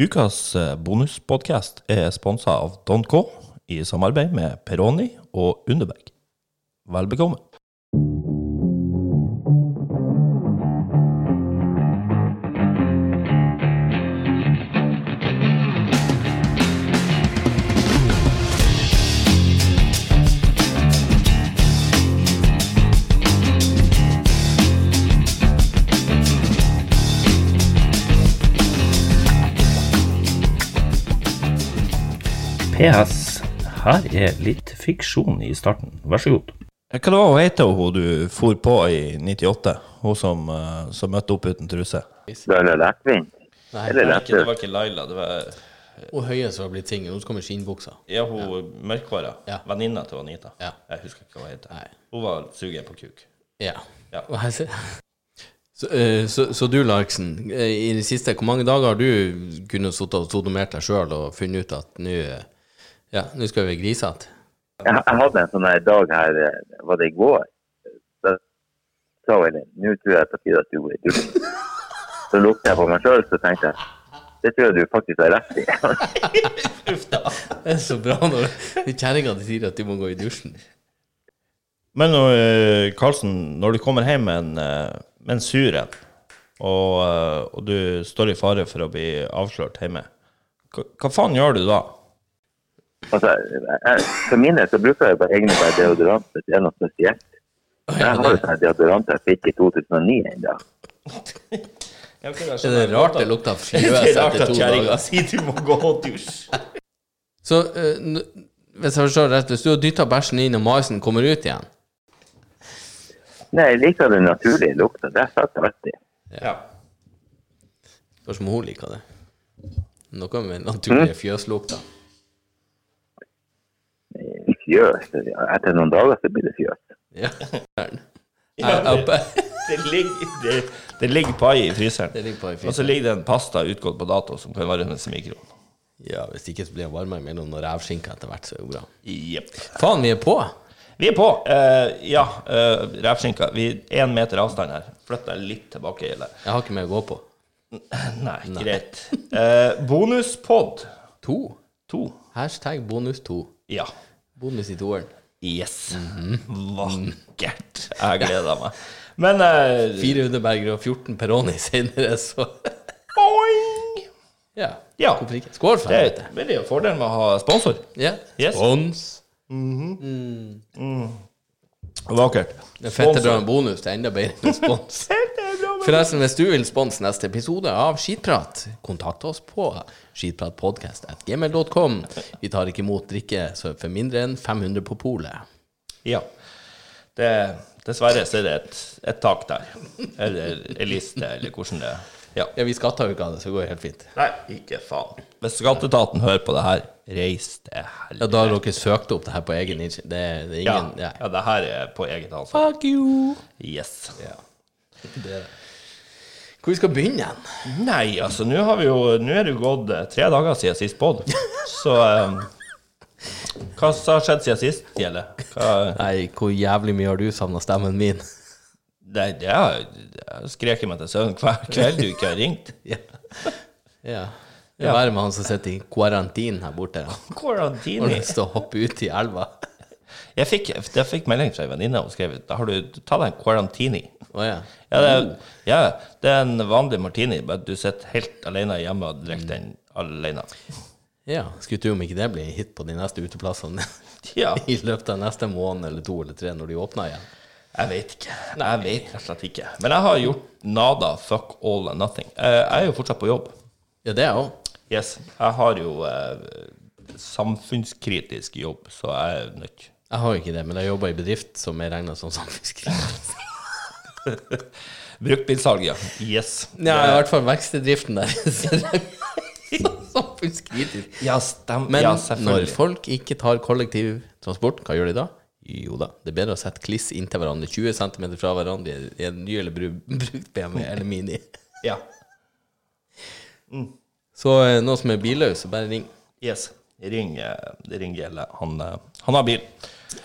Ukas bonuspodkast er sponsa av Don K, i samarbeid med Peroni og Underberg. Vel bekomme. PS. Her er litt fiksjon i starten. Vær så god. Eh, Hva var hun het hun du for på i 98? Hun som, eh, som møtte opp uten truse? Laila Lettvint. Nei, Eller Nei, ikke, det Letthaug. var ikke Laila. Det var hun høye som har blitt singel, hun skal med skinnbuksa. ja, hun mørkhåra. Ja. Venninna til Anita. Ja. Jeg husker ikke hva hun het. Nei. Hun var sugen på kuk. Ja. Ja. Og jeg ser- Så, eh, så, så du, Larksen, eh, i det siste, hvor mange dager har du kunnet sitte og sodomert deg sjøl og funnet ut at nå eh, ja, nå skal vi være grisete? Jeg, jeg hadde en sånn her dag her, eh, var det i går? Da sa hun Elin, nå tror jeg det er på tide at du er dum. Så lukket jeg på meg sjøl, så tenkte jeg, det tror jeg du faktisk har rett i. Det er så bra når kjerringa di sier at du må gå i dusjen. Men eh, Karlsen, når du kommer hjem med en, eh, med en sur en, og, eh, og du står i fare for å bli avslørt hjemme, hva, hva faen gjør du da? Altså, jeg, jeg- for min del så bruker jeg bare egentlig bare deodorant hvis det er noe spesielt. Men Jeg har jo sånn deodorant jeg fikk i 2009 ennå. Er det rart det lukter Det fjøs er rart etter at to kjerringa dager? sier du må gå og dusje. Så eh, n- hvis jeg forstår rett, hvis du har dytta bæsjen inn og maisen kommer ut igjen Nei, jeg liker den naturlige lukta. Det setter jeg alltid. Ja. Spørs om hun liker det. Noe med Mm. naturlige fjøslukter. Fjøs. Etter noen dager så blir det fjøs. Ja. Jeg, Ja, jeg, Det ligger, det, det ligger pai i fryseren. Det ligger pai i fryseren. Og så ligger det en pasta utgått på dato som kan varmes i mikroen. Ja, hvis ikke så blir jeg varmere mellom når revskinka etter hvert, så er det jo bra. Jepp. Faen, vi er på! Vi er på. Eh, ja, uh, revskinka. Vi er én meter avstand her. Flytt deg litt tilbake, Gjelle. Jeg har ikke mer å gå på. Nei, greit. Eh, Bonuspod To. 2. Hashtag bonus to. Ja. Mhm. Bonus i toeren. Yes. Vakkert. Jeg gleder meg. Men eh, 400 berger og 14 Peroni senere, så boing! Ja. Ja. Hvorfor ikke? Skål for Det er helvete. veldig fordelen med å ha sponsor. Ja. Yes. Spons. Vakkert. Det er fett å dra en bonus. Det er enda bedre enn spons. Forresten, hvis du vil sponse neste episode av Skitprat, kontakt oss på skitpratpodcast.gmail.com. Vi tar ikke imot drikke så for mindre enn 500 på polet. Ja. Det, dessverre så er det et, et tak der. Eller en liste, eller hvordan det Ja. Ja, vi skatter jo ikke av det, så det går helt fint. Nei, ikke faen. Hvis skatteetaten hører på det her, reis til Ja, helvete. da har dere søkt opp det her på egen initiativ. Det, det er Ja, ingen ja. ja, det her er på eget ansvar. Fuck you! Yes. Ja. Det er det. Hvor vi skal begynne hen? Nei, altså, nå har vi jo Nå er det jo gått eh, tre dager siden sist pod. Så eh, Hva s- har skjedd siden sist, Gjelle? Hva- Nei, hvor jævlig mye har du savna stemmen min? Nei, det har jeg skreket meg til søvn hver kveld du ikke har ringt. ja. ja. Det er verre med han som sitter i karantene her borte. Han har Quarantini. lyst til å hoppe ut i elva. Jeg fikk, jeg fikk melding fra ei venninne og skrev Da har du ta deg en quarantini. Å ja. Ja det, er, ja, det er en vanlig martini, bare du sitter helt alene hjemme og drikker den alene. Ja, skulle tro om ikke det blir en hit på de neste uteplassene Ja, i løpet av neste måned eller to eller tre, når de åpner igjen. jeg vet ikke. Jeg vet rett og slett ikke. Men jeg har gjort nada, fuck all and nothing. Eh, Jeg er jo fortsatt på jobb. Ja, det òg. Yes. Jeg har jo eh, samfunnskritisk jobb, så jeg er nødt Jeg har jo ikke det, men jeg jobber i bedrift som er regna som samfunnskritisk. Bruktbilsalg, ja. Yes. Ja, i hvert fall vekstbedriften der. Så det er Samfunnskritisk. Ja, stem, Men ja, når selvfølgelig. folk ikke tar kollektivtransport, hva gjør de da? Jo da, det er bedre å sette kliss inntil hverandre 20 cm fra hverandre i en ny eller bru- brukt BMW eller Mini. Ja. Så eh, noen som er billøs, så bare ring. Yes. Ring, eh, ring Gjelle. Han, eh, han har bil.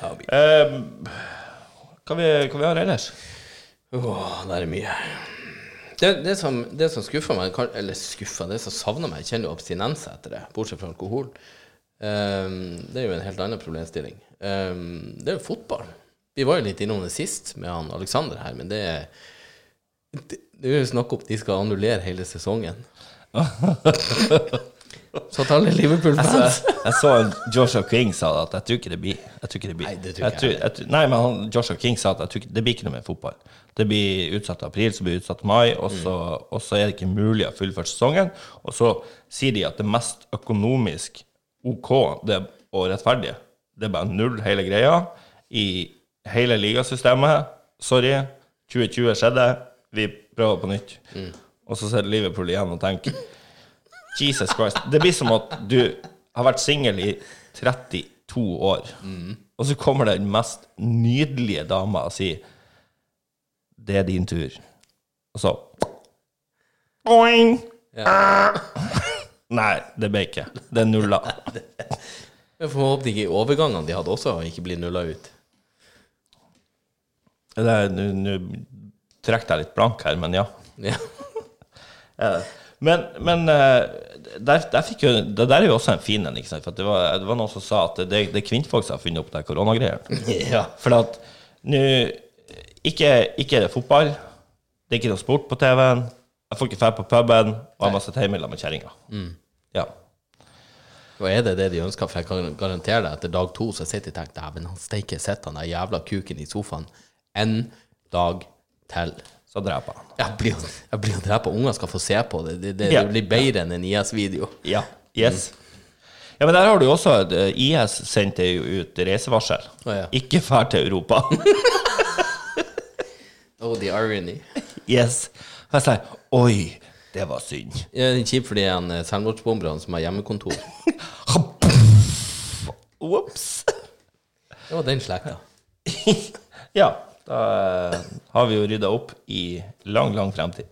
Ja, vi- Eh, hva vi, hva vi har ellers? Åh, det er mye. Det, det, som, det som skuffer meg, kan- eller skuffer, det som savner meg, jeg kjenner jo abstinense etter det, bortsett fra alkohol. Ehm, det er jo en helt annen problemstilling. Ehm, det er jo fotball. Vi var jo litt innom det sist med han Alexander her, men det er det, det er jo snakk om at de skal annullere hele sesongen. Så at alle Liverpool-fans Altså, Jeg så en Joshua King sa at jeg tror ikke det blir. Jeg tror ikke det blir. Nei, det tror ikke jeg tror, jeg tror, nei, men han, Joshua King sa at jeg tror ikke, det blir ikke noe mer fotball. Det blir utsatt april, så blir det utsatt mai, og så, Mm. og så er det ikke mulig å fullføre sesongen. Og så sier de at det mest økonomisk OK det, og rettferdige, det er bare null hele greia i hele ligasystemet. Sorry, 2020 skjedde, vi prøver på nytt. Mm. Og så sitter Liverpool igjen og tenker Jesus Christ. Det blir som at du har vært singel i 32 år, og så kommer den mest nydelige dama og sier 'Det er din tur', og så Boing! Nei, det ble ikke. Det er nulla. Jeg får håpe de ikke overgangene de hadde også, ikke blir nulla ut. Det er- Nå nå trekker jeg litt blank her, men ja. Ja. Eh, Men, men eh, der, der fikk jo, det der er jo også en fin en. ikke sant? For at det, var, det var noen som sa at det, det er kvinnfolk som har funnet opp de koronagreiene. ja. For at nå ikke, ikke er det fotball, det er ikke noe sport på TV-en, jeg får ikke dra på puben, og jeg må sitte hjemme sammen med kjerringa. Mm. Ja. Og er det det de ønsker? For jeg kan garantere deg etter dag to så sitter de og tenker Dæven, han steike, sitter han der jævla kuken i sofaen en dag til. Så dreper jeg han. Jeg blir jo- jeg blir jo drept, og unger skal få se på det. Det, det, Ja. det blir bedre enn en IS-video. Ja. Yes. Ja, men der har du jo også eh, IS sendte jo ut reisevarsel. Å, ja. Ikke fær til Europa. Oh, the irony. yes. Og jeg sier oi, det var synd. Ja, det er Kjipt for de han, eh, selvmordsbomberne som har hjemmekontor. Det Ops. var den slekta. ja, da eh, har vi jo rydda opp i lang, lang fremtid.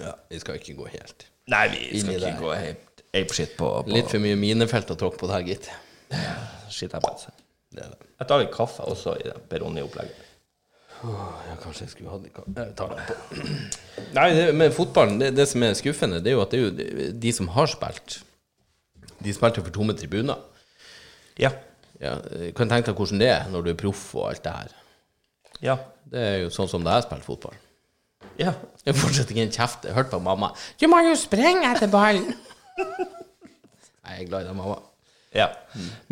Ja, vi skal ikke gå helt Nei, vi Inni skal der. ikke gå helt apeshit på, på Litt for mye minefelt å tråkke på der, gitt. skitt her, Benz. Jeg tar litt kaffe også i det Peroni-opplegget. Ja, kanskje jeg skulle hatt litt ka- Jeg tar den på. Nei, det, men fotballen, det, det som er skuffende, det er jo at det er jo de- de som har spilt, de spilte for tomme tribuner. Ja. Ja, eh, kan tenke deg hvordan det er når du er proff og alt det her. Ja. Det er jo sånn som da jeg spilte fotball. Ja. Jeg fortsatt ikke en kjeft. Jeg hørte på mamma. Du må jo springe etter ballen! Nei, jeg er glad i deg, mamma. ja.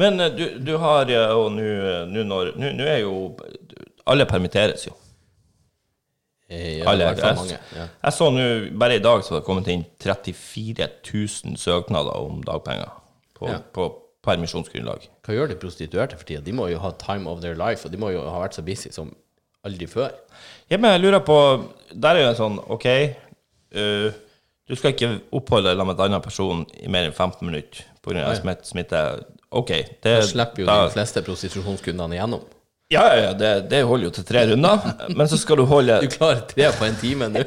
Men eh, du, du har eh, Og nå eh, nå når Nå nå er jo Alle permitteres jo. Eh, Ja, i Alle, hvert jeg, fall mange. Ja. jeg så nå Bare i dag så har det kommet inn 34 000 søknader om dagpenger på, Ja. på permisjonsgrunnlag. Hva gjør de prostituerte for tida? De må jo ha time of their life, og de må jo ha vært så busy som aldri før. Ja, men jeg lurer på Der er jo en sånn OK, eh, du skal ikke oppholde deg med en annen person i mer enn 15 minutter pga. smitte. smitte. OK. Det Da slipper jo da- de fleste prostitusjonskundene igjennom. Ja, ja, ja, det, det holder jo til tre runder. Men så skal du holde Du klarer tre på en time nå.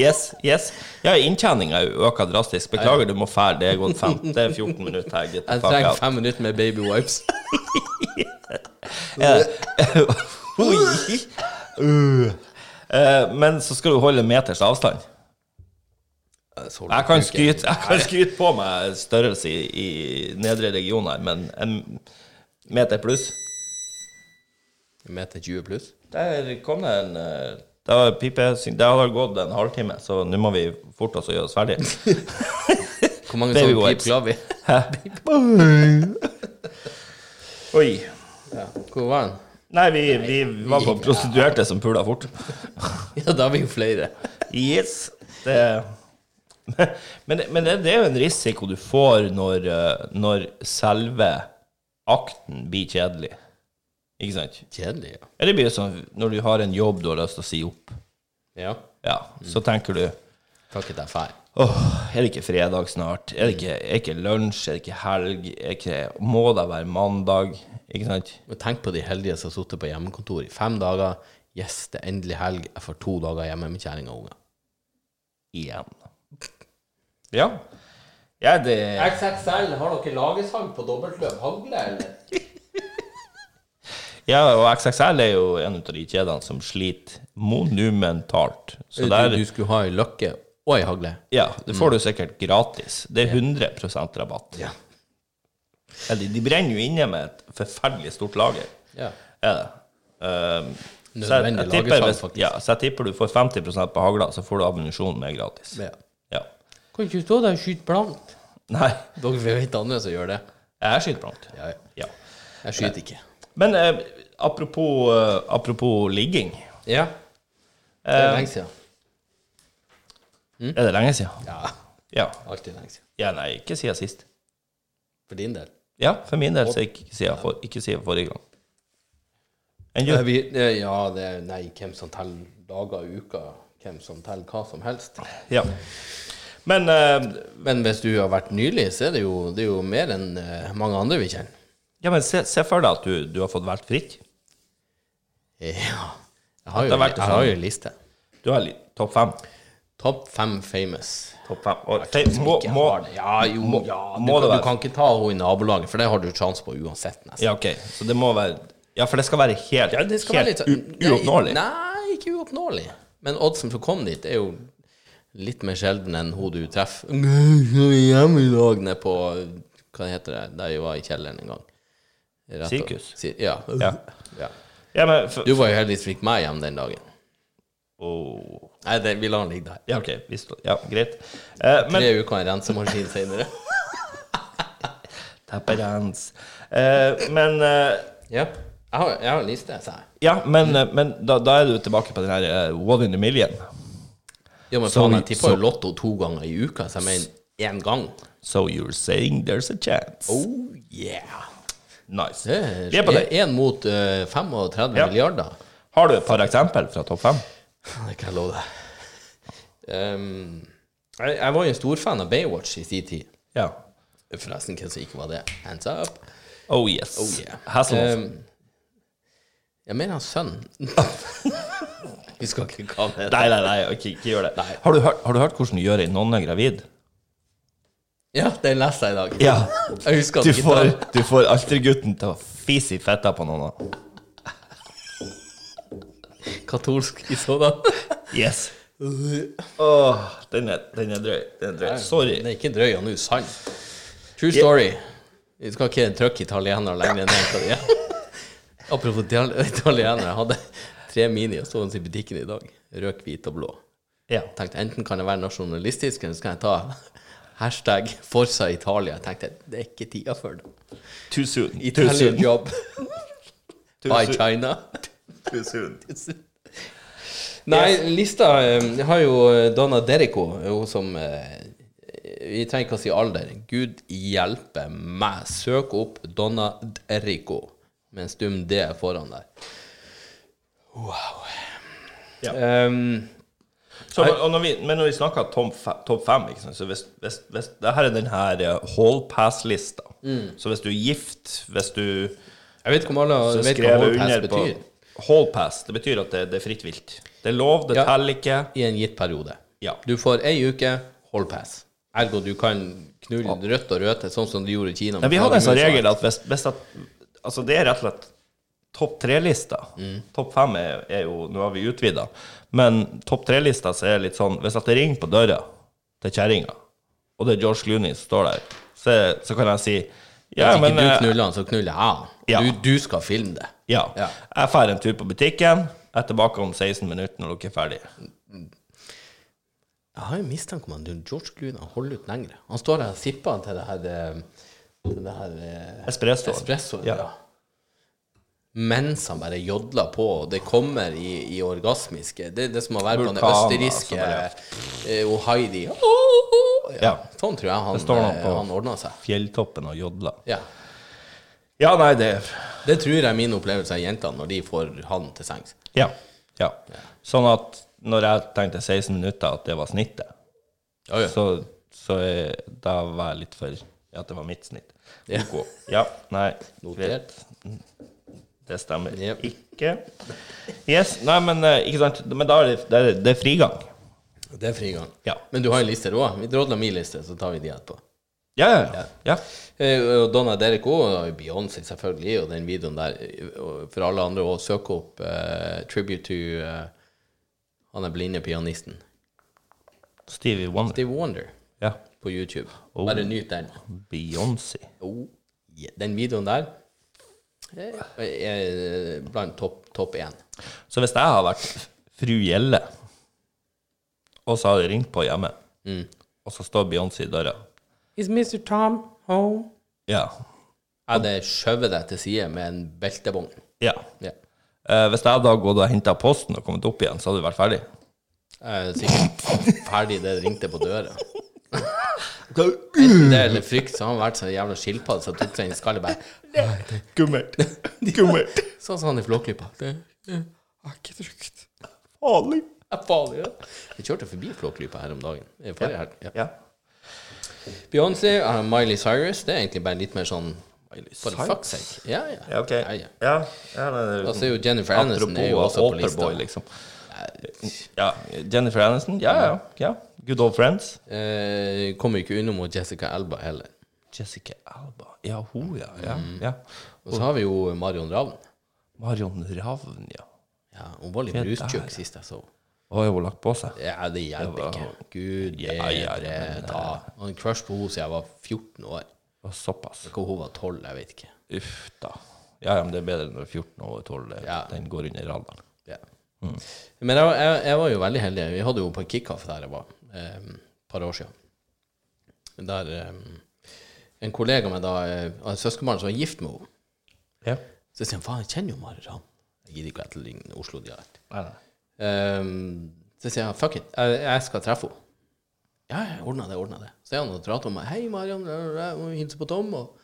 Yes, yes. Ja, inntjeninga er jo øka drastisk. Beklager, du må fære. Det er gått fem. Det er 14 minutter her, gitt. Jeg trenger fem minutter med baby wipes. Oi. Uh. Eh, Men så skal du holde meters avstand. Jeg kan skryte, jeg kan skryte på meg størrelse i, i nedre region her, men en meter pluss Meter 20 pluss. Der kom det en eh, Det var pipesyn- det har gått en halvtime, så nå må vi forte oss å gjøre oss ferdig. Hvor mange Baby sånne wipes. pip la vi? Oi. Hvor var den? Nei, vi, vi var på prostituerte som pula fort. Ja, da er vi jo flere. Yes. Det Men, men det, det er jo en risiko du får når, eh, når selve akten blir kjedelig. Ikke sant? Kjedelig, ja. Ja, det blir jo sånn når du har en jobb du har lyst til å si opp. Ja. Ja, Så tenker du Takk at jeg fær. Åh, er det ikke fredag snart? Er det ikke, er det ikke lunsj? Er det ikke helg? Er det ikke, må det være mandag? Ikke sant? Men tenk på de heldige som har sittet på hjemmekontor i fem dager. Yes, det er endelig helg. Jeg får to dager hjemme med kjerring og unger. Igjen. Ja. Ja, det XXL, har dere lagesang på dobbeltløp hagle, eller? Ja, og XXL er jo en av de kjedene som sliter monumentalt. Så du, der, du Mm. skulle ha ei løkke og ei hagle. ja, det får du sikkert gratis. Det er 100 rabatt. Ja. Ja, de, de brenner jo inne med et forferdelig stort lager. Ja. Er det. Um, så jeg, Nødvendig jeg tipper, lagersalg, hvis, faktisk. ja, så jeg tipper du får 50 på hagla, så får du ammunisjon med gratis. Ja. Ja. Kan ikke stå der og skyte blankt. Nei, Dere vet andre som gjør det. jeg skyter blankt. Ja, ja. Ja. Jeg skyter ikke. Men eh, apropos, eh, apropos ligging. Ja. Eh, Det er lenge siden. Mm. Er det lenge siden? Ja, Ja. alltid lenge siden. ja nei, ikke siden sist. For din del. Ja, for min del så er ikke siden, for, ikke siden forrige gang. Enn du? Eh, Vi, eh, ja, det er Nei, hvem som teller dager og uker. Hvem som teller hva som helst. Ja. Men eh, Men hvis du har vært nylig, så er det jo, det er jo mer enn eh, mange andre vi kjenner. Ja, men se, se for deg at du, du har fått valgt fritt. Eh, Ja. Jeg har Det jo, har vært sånn. jeg har jo en liste. Du har li- topp fem. Topp fem famous. Topp fem. Og, fe, må, Ikke må, har det. Ja, jo, må- ja. Du, må det kan, være- du kan ikke ta henne i nabolaget, for det har du sjanse på uansett, nesten. ja, ok. Så det må være Ja, for det skal være helt, Ja, det skal helt være litt sånn u- uoppnåelig. Nei, nei, ikke uoppnåelig. Men oddsen for å komme dit er jo litt mer sjelden enn hun du treffer hjemme i dag nede på Hva heter det, der jeg var i kjelleren en gang. Rett og- Sirkus? Si- Ja. Ja. ja. ja, men for, Du var jo heldigvis fikk meg hjem den dagen. Åh. Nei, det, vi lar den ligge der. Ja, ok. Vi står- ja, greit. Eh, men Tre uker i rensemaskin senere. Tapperans. Eh, men eh, ja. Jeg har, jeg har en liste, sa jeg. Ja, men, eh, men da, da er du tilbake på den her eh, one in a million. Ja, men Så- faen, jeg tippa så- jo Lotto to ganger i uka, så jeg mener én gang. So you're saying there's a chance. Oh yeah. Nice. Det er- Vi er på det. Én mot eh, 35 Ja. milliarder. Har du et par eksempel fra topp fem? Det kan jeg love deg. Ehm, jeg, jeg var jo en stor fan av Baywatch i sin tid. Ja. Forresten, hvem som ikke var det? Hands up. Oh Um, yes. Oh, yeah. Hasselhoff. Ehm, jeg mener hans sønn. Vi skal ikke kalle det det. Nei, nei, nei, ikke, ikke gjør det. Nei. Har du, hørt, har du hørt hvordan du gjør ei nonne gravid? Ja, den leste jeg i dag. Ja. Jeg husker at Du ikke får, det. du får altergutten til å fise i fetta på nonna. katolsk i sånn. sådan. Yes. Åh, den, er, den er drøy. Den er drøy. Sorry. Den er ikke drøy og nå sann. True story. Vi skal ikke trykke italienere lenger enn hva de er. Apropos ital- italienere. Jeg hadde tre mini og stående i butikken i dag. Rød, hvit og blå. Ja. Jeg tenkte enten kan jeg være nasjonalistisk, eller så kan jeg ta hashtag Forza Italia. Jeg tenkte det er ikke tida for det. Too soon. Too Italian soon. job Too by soon. China. Too soon. Nei, lista eh, har jo eh, Donna Derico, hun som eh, Vi trenger ikke å si alder. Gud hjelpe meg. Søk opp Donna Derico med en stum D foran der. Wow. Ja. Ehm, Så, og når vi, men når vi snakker topp fe- topp fem, ikke sant, så hvis, hvis, hvis det her er den her eh, hall pass-lista. Så hvis du er gift, hvis du jeg vet ikke om alle så vet hva skrev hold pass under på betyr Hall pass, det betyr at det, det er fritt vilt. Det er lov, det Ja. teller ikke. i en gitt periode. Ja. Du får ei uke hold pass. Ergo du kan knulle rødt og rødt, sånn som du gjorde i Kina. med Nei, vi hadde en sånn flaggermus og regel at hvis, hvis at Altså, det er rett og slett topp tre-lista. Mm. Topp fem er, er jo Nå har vi utvida. Men topp tre-lista så er det litt sånn Hvis at det ringer på døra til kjerringa, og det er George Clooney som står der, så, så kan jeg si Ja, Hvis ikke men du eh, knuller han, så knuller jeg han. Ja. Du, du skal filme det. ja. Ja. Jeg drar en tur på butikken. Jeg er tilbake om 16 minutter når dere er Mm. ferdige. Jeg har jo mistanke om at George Clooney holder ut lengre. Han står der og sipper til det her, eh, til det her eh, Espresso. espressoen. Ja. Ja. Mens han bare jodler på, og det kommer i, i orgasmiske Det er det som å være på den Vulkaner, østerrikske altså, eh, Ohaidi. Ja, Ja. Sånn tror jeg han, står noe eh, på- han ordna seg. Fjelltoppen og jodla. Ja. Ja, nei, det er Det tror jeg er min opplevelse av jentene når de får han til sengs. Ja. ja. Sånn at når jeg tenkte 16 minutter, at det var snittet, Ja, ja. så, så eh, da var jeg litt for at det var mitt snitt. Ja. Ok. Ja, nei, greit. Notert. Det stemmer Yep. ikke. Yes, nei, men eh, ikke sant. Men da er det, det, er, det er frigang. Det er frigang. Ja. Men du har en liste du òg. Vi drodler min liste, så tar vi de etterpå. Ja, ja, ja. ja. Eh, Og Donna Derek også, og Beyoncé selvfølgelig, og den videoen der. eh, og For alle andre å søke opp eh, tribute to eh, han er blinde pianisten. Stevie Wonder. Steve Wonder Ja. på YouTube. Oh. Bare nyt den. Beyoncé. Oh, yeah. Den videoen der eh, er blant topp topp én. Så hvis jeg hadde vært fru Gjelle, og så hadde jeg ringt på hjemme, Mm. og så står Beyoncé i døra Is Mr. Tom home? Ja. Jeg hadde skjøvet deg til side med en beltevogn. ja. Ja. Eh, hvis jeg da hadde gått og henta posten og kommet opp igjen, så hadde du vært ferdig? Jeg er sikkert ferdig det ringte på døra. Enten det eller frykt, så har han vært så jævla skilpadde som tok seg inn i skallet. bare, Gummert. Gummert. Sånn som han i Flåklypa. Det Har ikke trygt. Farlig. er farlig, ja. Jeg kjørte forbi Flåklypa her om dagen. eh, Forrige helg. Ja. Ja. Beyoncé og Miley Cyrus, det er egentlig bare litt mer sånn For Cyrus? fuck's sake. Ja, ja. Ja, ok. ja, ja. Ja, ja, men eh, det er Altså, jo, Jennifer Aniston er jo Apropos også på lista. Waterboy, liksom. Ja, Jennifer Aniston. Ja, ja. ja. Good old friends. Eh, kommer ikke unna mot Jessica Alba heller. Jessica Alba. Ja, hun, ja. ja, ja. Mm. Og så har vi jo Marion Ravn. Marion Ravn, ja. Ja, hun var litt Fett, brustjukk ja. sist jeg så henne. Å, har hun lagt på seg? Ja, det hjelper var- ikke. Gud Ja, ja, bedre ja, men, ta. Og en crush på henne siden jeg var 14 år. Å, såpass. Hvor hun var 12, jeg vet ikke. Uff da. Ja, ja, men det er bedre når 14 og 12 er- Ja. eh, den går under radaren. Ja. Mm. Men jeg, var- jeg, jeg var jo veldig heldig. Vi hadde jo på en kickoff der jeg var eh, et par år siden. Der eh, en kollega av meg da, eh, av søskenbarn som var gift med henne, Ja. så sier han faen, jeg kjenner jo Mari Ravn. Jeg gidder ikke å etterligne Oslo-dialekt. Nei, nei. Ehm, så sier han fuck it, jeg, jeg skal treffe henne. Ja, jeg ordna det, ordna det. Så er han og prater om meg. Hei, Marian, hun hilser på Tom. Og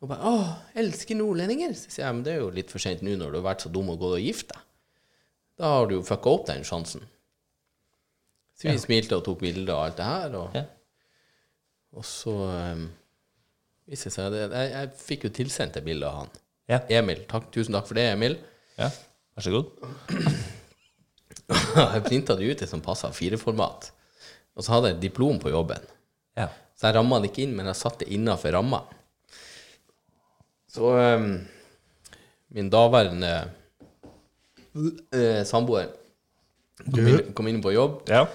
hun bare Å, elsker nordlendinger. Så sier jeg, men det er jo litt for seint nå når du har vært så dum og gått og gift deg. Da har du jo fucka opp den sjansen. Så vi smilte og tok bilder og alt det her, og, Ja. og så um, viste det seg det. Jeg, jeg fikk jo tilsendt et bilde av han. Ja. Emil. Takk, tusen takk for det, Emil. ja. Vær så god. jeg printa det ut i sånn passa fireformat. Og så hadde jeg et diplom på jobben. Ja. Så jeg ramma det ikke inn, men jeg satte det innafor ramma. Så ehm, min daværende eh, samboer kom inn, kom inn på jobb Ja.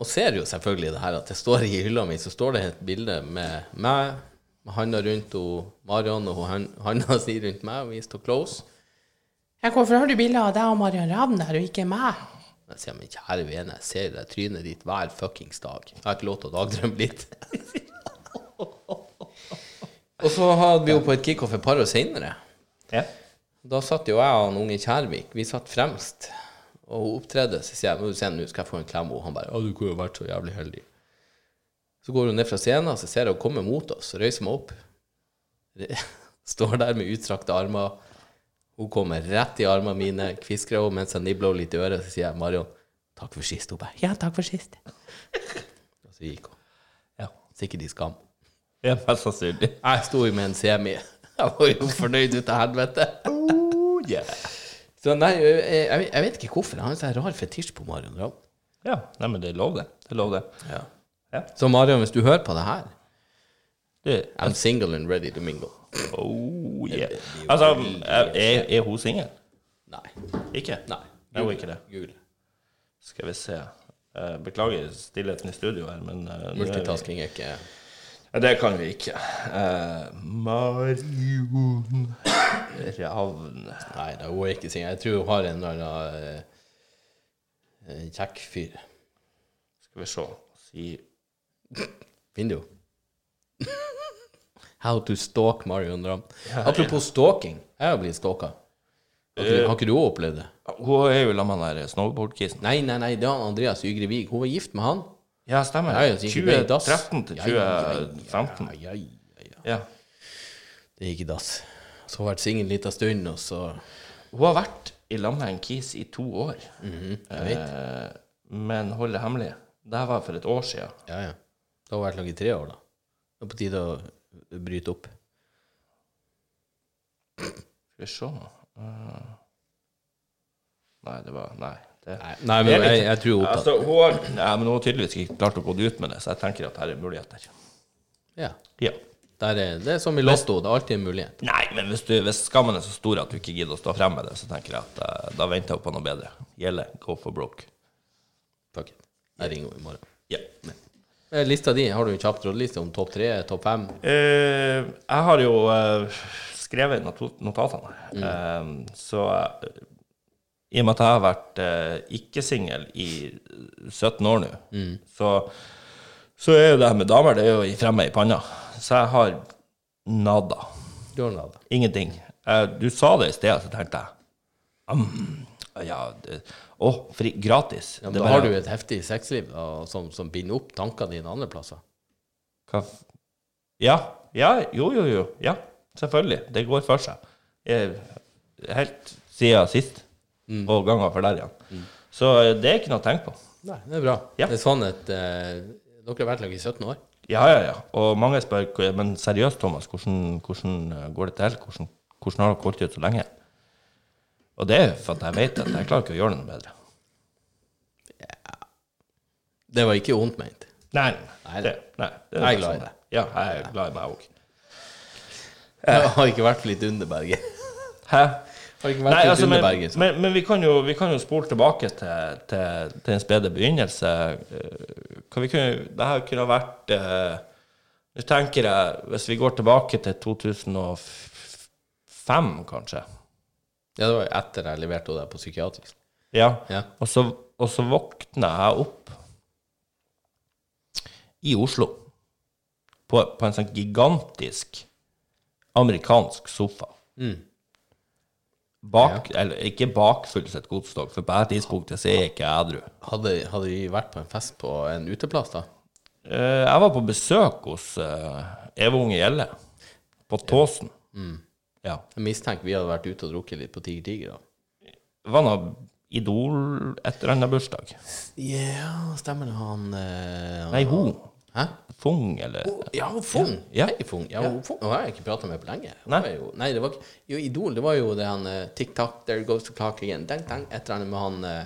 og ser jo selvfølgelig det her at det står i hylla mi, så står det et bilde med meg, med handa rundt ho, Marion og ho, han- handa si rundt meg, og vi står close. Jeg hvorfor har du bilde av deg og Marion Ravn der, og ikke meg? Jeg sier, men kjære vene, jeg ser deg trynet ditt hver fuckings dag. Jeg har ikke lov til å dagdrømme litt. og så hadde vi jo på et kickoff et par år seinere. Ja. Da satt jo jeg og han unge Kjærvik, vi satt fremst. Og hun opptredde, så sier jeg, må du se, nå skal jeg få en klem, og han bare, ja, du kunne jo vært så jævlig heldig. Så går hun ned fra scenen, så ser jeg hun komme mot oss, røyser meg opp. Står der med utstrakte armer. Hun kommer rett i armene mine, kvisker henne mens jeg nibler henne litt i øret, så sier jeg, Marion, takk for sist, hun bare, Ja, takk for sist. ja. Så gikk hun. Ja. Sikkert i skam. Ja, mest sannsynlig. Jeg sto jo med en semi. Jeg var jo fornøyd ut av helvete. Oh, yeah. Så nei, jeg, jeg, jeg vet ikke hvorfor. Han har en sånn rar fetisj på Marion Ravn. Ja. Nei, men det er lov, det. Det er lov, det. Så Marion, hvis du hører på det her Du, I'm single and ready to mingle. oh, yeah. Altså, er, er- er hun singel? Nei. Ikke? Nei. Nei, hun er ikke det. Gul. Skal vi se. Eh, Beklager stillheten i studio her, men eh, nå er vi- Multitasking er ikke Nei, Det kan vi ikke. Eh, Marion Ravn Nei, da, hun er ikke single. Jeg tror hun har en eller annen eh, eh, kjekk fyr. Skal vi se. Si Vindu. How to stalk Marion Ravn. Apropos stalking. Jeg har blitt stalka. Eh. Har ikke, har ikke du opplevd det? Ah, Hun er jo sammen med han der snowboardkisen. Nei, nei, nei. Det er Andreas Ygre-Vig. Hun var gift med han. Ja, stemmer. Ja, ja, så gikk det i dass. 2013 til Ja, ja, ja, ja, 2015. Ja, ja, ja, ja. Ja. Det gikk i dass. Så har jeg vært singel en liten stund, og så Hun har vært i lag med en kis i to år, Mhm, Jeg vet. eh, men hold det hemmelig. Det var for et år siden. Ja, ja. Da har jeg vært lag i tre år, da. Det er på tide å bryte opp. Skal vi se Eh, Nei, det var Nei. Det. Nei, men jeg, jeg tror hun er opptatt. Altså, hun har, nei, men hun har tydeligvis ikke klart å gå ut med det, så jeg tenker at her er muligheter. Ja. Ja. Der er, det er som i Lotto, det er alltid en mulighet. Nei, men hvis, du, hvis skammen er så stor at du ikke gidder å stå frem med det, så tenker jeg at eh, da venter jeg på noe bedre. Gjelder go for broke. Fuck it. Jeg ringer henne i morgen. Ja. Eh, Lista di, har du en kjapp rådliste om topp tre, topp fem? Eh, jeg har jo eh, skrevet not notatene, Mm. Eh, så eh, i og med at jeg har vært eh, ikke-singel i 17 år nå, Mm. så, så er jo det her med damer det er jo i fremme i panna. Så jeg har nada. Du har noe av det. Ingenting. Eh, du sa det i sted, så tenkte jeg mm, ja, det, Å, fri, gratis. Ja, men Det da bare- har du et heftig sexliv da, som, som binder opp tankene dine andre plasser. Hva f- Ja. Ja, jo, jo, jo. Ja, selvfølgelig. Det går for seg. Eh, Helt siden sist, Mm. og ganger for der igjen. Så eh, det er ikke noe å tenke på. Nei, det er bra. Ja. Det er sånn at eh, dere har vært lag i 17 år. Ja, ja, ja. Og mange spør "Hva- Men seriøst, Thomas, hvordan, hvordan eh, går det til? Hvordan, hvordan har dere holdt ut så lenge? Og det er for at jeg vet at jeg klarer ikke å gjøre det noe bedre. Det var ikke vondt ment. Nei, Nei, det, nei det sånn. Jeg er glad i det. Ja, jeg er glad i meg òg. Det har ikke vært for litt underberget. Hæ? Har ikke vært Nei, litt altså, men, underberget. men, men vi, kan jo, vi kan jo spole tilbake til, til, til en spede begynnelse. Eh, Kan vi kunne, det her kunne ha vært eh, Nå tenker jeg, hvis vi går tilbake til 2005, kanskje Ja, det var jo etter jeg leverte henne der på psykiatrisk. Ja. Ja. Og, så, og så våkna jeg opp i Oslo på, på en sånn gigantisk amerikansk sofa. Mm. Bak, Eller ikke bakfull sitt godstog, for på det tidspunktet så er jeg ikke edru. Hadde, hadde vi vært på en fest på en uteplass da? Eh, jeg var på besøk hos uh, Eva Unge Gjelle på Tåsen. Mm. Ja. Jeg mistenker vi hadde vært ute og drukket litt på Tiger Tiger da. Det var noe Idol et eller annet bursdag. Ja, stemmer det han eh, Nei, hun. Hæ? Fung, eller Ja, hun Fung. Ja. Hei, Fung. Ja, hun Fung. Hun har jeg ikke prata med på lenge. Hun Nei. var Jo, nei, det var ikke Jo, Idol, det var jo det han eh, Tikk-takk, there goes the clock again. Dang, dang. Et eller annet med han eh,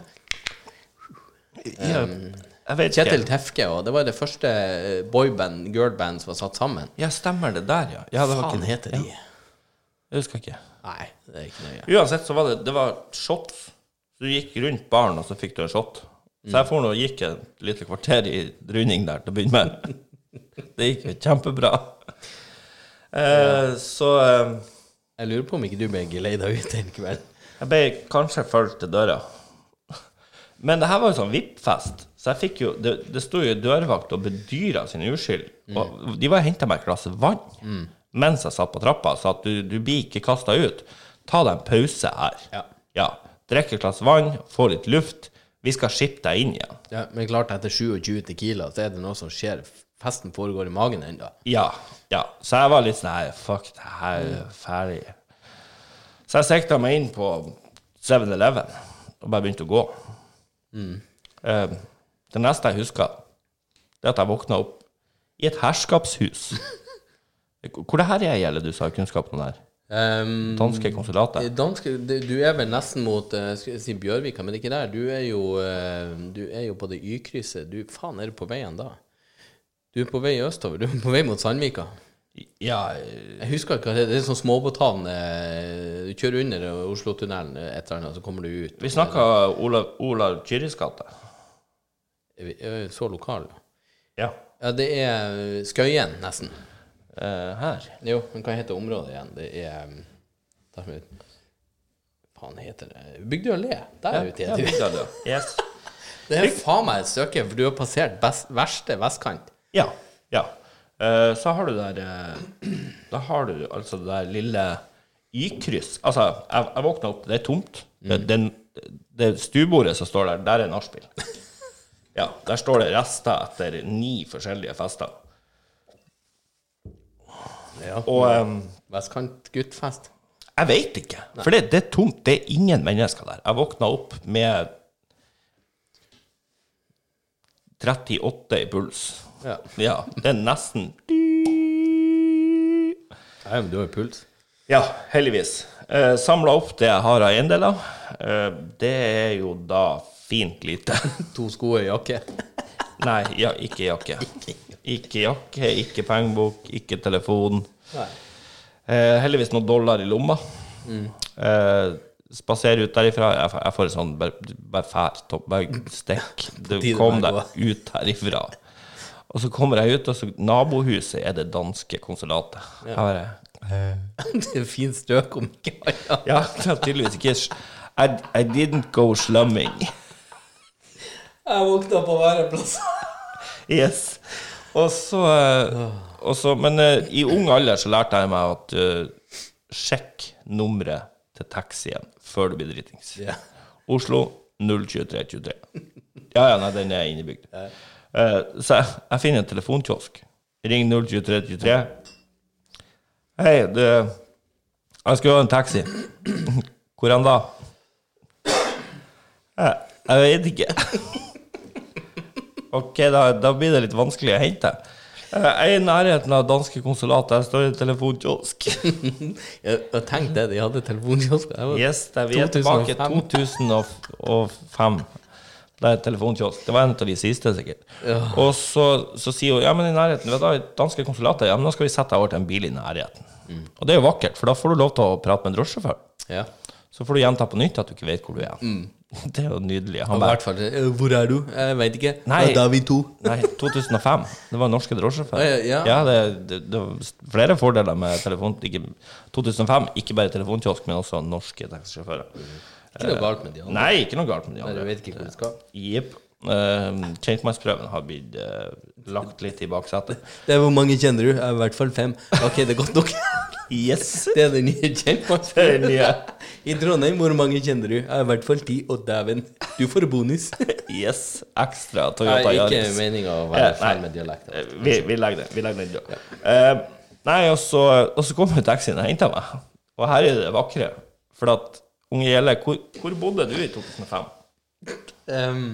ja, Jeg vet ikke. Kjetil Tefke, og det var det første eh, boyband, girlband, som var satt sammen. Ja, stemmer det der, ja. ja det var Faen ikke, heter de? Jeg husker ikke. Nei, det er ikke nøye. Uansett så var det Det var shots. Så Du gikk rundt baren, og så fikk du en shot. Så jeg for nå og gikk et lite kvarter i runding der til å begynne med. Det gikk jo kjempebra. Eh, så eh, Jeg lurer på om ikke du ble geleida ut en kveld. Jeg ble kanskje fulgt til døra. Men det her var jo sånn VIP-fest, så jeg fikk jo Det, det sto jo dørvakt og bedyra sin uskyld. Og de var og henta meg et glass vann mens jeg satt på trappa, så at du, du blir ikke kasta ut. Ta deg en pause her. Ja. Drikk et glass vann, få litt luft. Vi skal shippe deg inn igjen. Ja, men klart, etter 27 Tequila, så er det noe som skjer. Festen foregår i magen ennå. Ja, ja. Så jeg var litt sånn her, Fuck, det her er ferdig. Så jeg sikta meg inn på 7-Eleven og bare begynte å gå. Eh, det neste jeg husker, det er at jeg våkna opp i et herskapshus. Hvor det her er, gjelder du, sa kunnskapen der? Um, Danske konsulatet? danske, du du er vel nesten mot eh, skal jeg si Bjørvika, men det er ikke der. Du er jo, eh, du er jo på det Y-krysset. Du, faen, er du på veien da? Du er på vei østover. Du er på vei mot Sandvika. Ja, eh, Jeg husker ikke hva det er. Det er sånn småbåthavn. eh, Du kjører under Oslotunnelen eh, et eller annet, så kommer du ut. vi snakka Olav, Olav Kyris gate. Er vi- er vi Så lokal. Ja. Ja, det er Skøyen, nesten. Eh, her. Jo, men hva heter området igjen? Det er um, der med- Faen heter det Bygdøy allé. Der er ute Ja, igjen. det er det. Yes. Det er faen meg et stykke, for du har passert best, verste vestkant. Ja. ja. Eh, så har du der eh, Da har du altså det der lille Y-kryss. Altså, jeg, jeg våkna opp, det er tomt. Det, den, det stuebordet som står der, der er nachspiel. ja. Der står det rester etter ni forskjellige fester. Ja. Og eh, Mm, Vestkantguttfest. jeg veit ikke, for det, det er tomt. Det er ingen mennesker der. Jeg våkna opp med 38 i puls. Ja. Ja. Det er nesten ja, men du har jo puls. Ja, heldigvis. Eh, Samla opp det jeg har av eiendeler. Eh, det er jo da fint lite. To sko og ei jakke. Nei, ja, ikke jakke. Ikke jakke, ikke pengebok, ikke telefon. Nei. Mm. Eh, heldigvis noen dollar i lomma. Eh, Spasere ut derifra. Jeg, får- jeg får en sånn Bare, bare fær, topp, bare stikk. Du tide kom med å deg ut herifra. Og så kommer jeg ut, og så nabohuset er det danske konsulatet. Jeg bare, Det er fint strøk om ikke annet. ja, det er tydeligvis ikke I, I didn't go slumming. Jeg våkna på væreplass. Yes. Og så, eh, og så Men eh, i ung alder så lærte jeg meg at eh, sjekk nummeret til taxien før du blir dritings. Ja. Oslo 02323. Ja, ja, nei, den er innebygd. Eh, så jeg, jeg finner en telefonkiosk. Ring 02323. Hei, du Jeg skulle ha en taxi. Hvor hen da? Jeg, jeg vet ikke. Ok, da, da blir det litt vanskelig å hente. Eh, Jeg er i nærheten av danske konsulatet. Jeg står i telefonkiosk. Jeg, jeg tenkte det, de hadde telefonkiosk. Jeg var- Yes, det, vi er tilbake 2005. Det er telefonkiosk. Det var en av de siste, sikkert. Og så, så sier hun ja, men i nærheten vet du, i danske konsulatet, ja, men da skal vi sette deg over til en bil i nærheten. Mm. Og det er jo vakkert, for da får du lov til å prate med en drosjesjåfør. Ja. Så får du gjenta på nytt at du ikke vet hvor du er. Det er jo nydelig. Mm. Og Han I bare hvert fall eh, Hvor er du? Jeg veit ikke. Nei. Ja, Da er vi to. Nei, 2005. Det var norske drosjesjåfører. Ja, ja. det, det, det var flere fordeler med telefon... Ikke, 2005, ikke bare telefonkiosk, men også norske taxisjåfører. Ikke noe galt med de andre. Nei, ikke noe galt med de Mm. Nei, andre. du vet ikke hvor du skal. Jepp. Eh, Kjentmannsprøven har blitt eh, lagt litt i baksetet. Det er Hvor mange kjenner du? Jeg er I hvert fall fem. Ok, det er godt nok. Yes! Det er den nye Det er kjentmannsprøven. den nye. I Trondheim, hvor mange kjenner du? Jeg er I hvert fall ti. Og dæven, du får bonus. Yes! Ekstra Nei, Toyota ikke Yaris. meninga å Eh, være nei. feil med dialekter. Eh, Vi, vi legger den. Vi legger den død. Eh, nei, og så, og så kom jo taxien og henta meg. Og her er det vakre. For at, unge Gjelle, hvor, hvor bodde du i 2005? Ehm,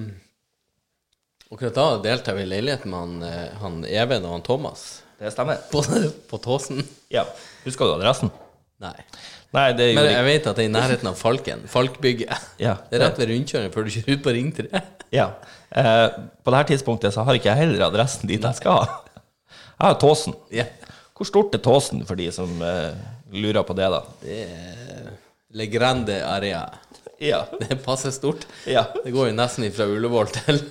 akkurat da deltar vi i leiligheten med han, eh, han Even og han Thomas Det stemmer. på, på Tåsen. Ja. Husker du adressen? Nei. Nei, det Men gjorde jeg jeg ikke. vet at det er i nærheten av Falken. Falkbygget. Ja, Det er rett ved rundkjøringen før du kjører ut på Ring 3. Ja. Eh, på dette tidspunktet så har ikke jeg heller adressen dit jeg skal. Jeg har Tåsen. Ja. Hvor stort er Tåsen, for de som eh, lurer på det, da? Det er Le Grande Area. Ja. Det er passe stort. Ja. Det går jo nesten fra Ullevål til,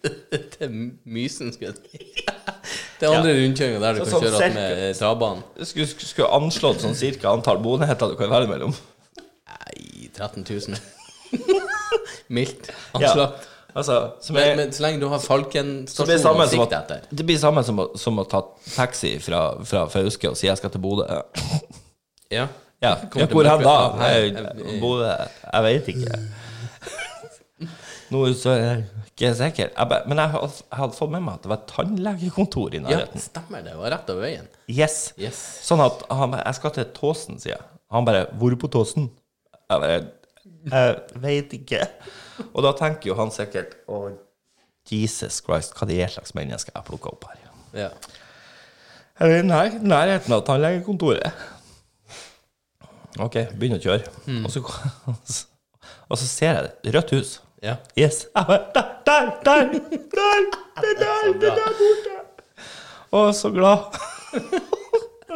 til Mysen, skulle jeg si. Til andre rundkjøringa der du Så kan sånn kjøre att cirka- med eh, trabanen. Skulle, skulle skulle anslått sånn cirka antall boenheter du kan velge mellom. Nei, 13 000. Mildt anslag. Altså, som Men, er men så lenge du har Så det blir Falken-stasjonen samme å som sikte at, etter det blir samme som å, som å ta taxi fra, fra Fauske og si jeg skal til Bodø. Ja. Ja, Kommer ja til hvor hen da? Mørkved. Nei, Jeg, jeg- Bodø Jeg veit ikke. Nå så er jeg ikke sikker. Jeg, bare- men jeg, har- jeg hadde fått med meg at det var et tannlegekontor i ja, nærheten. stemmer det. Og rett over veien. Yes. Yes. Sånn at han bare Jeg skal til Tåsen, sier jeg. Han bare Hvor på Tåsen? Jeg bare Jeg veit ikke. Og da tenker jo han sikkert Å, Jesus Christ, hva det er slags menneske jeg plukka opp her? Ja. Eller nei, nærheten av tannlegekontoret. OK, begynn å kjøre. Og, så, og så ser jeg det. Rødt hus. ja. Yes. Jeg bare, Der, der, der! der det er der! Det er der borte! Å, så glad.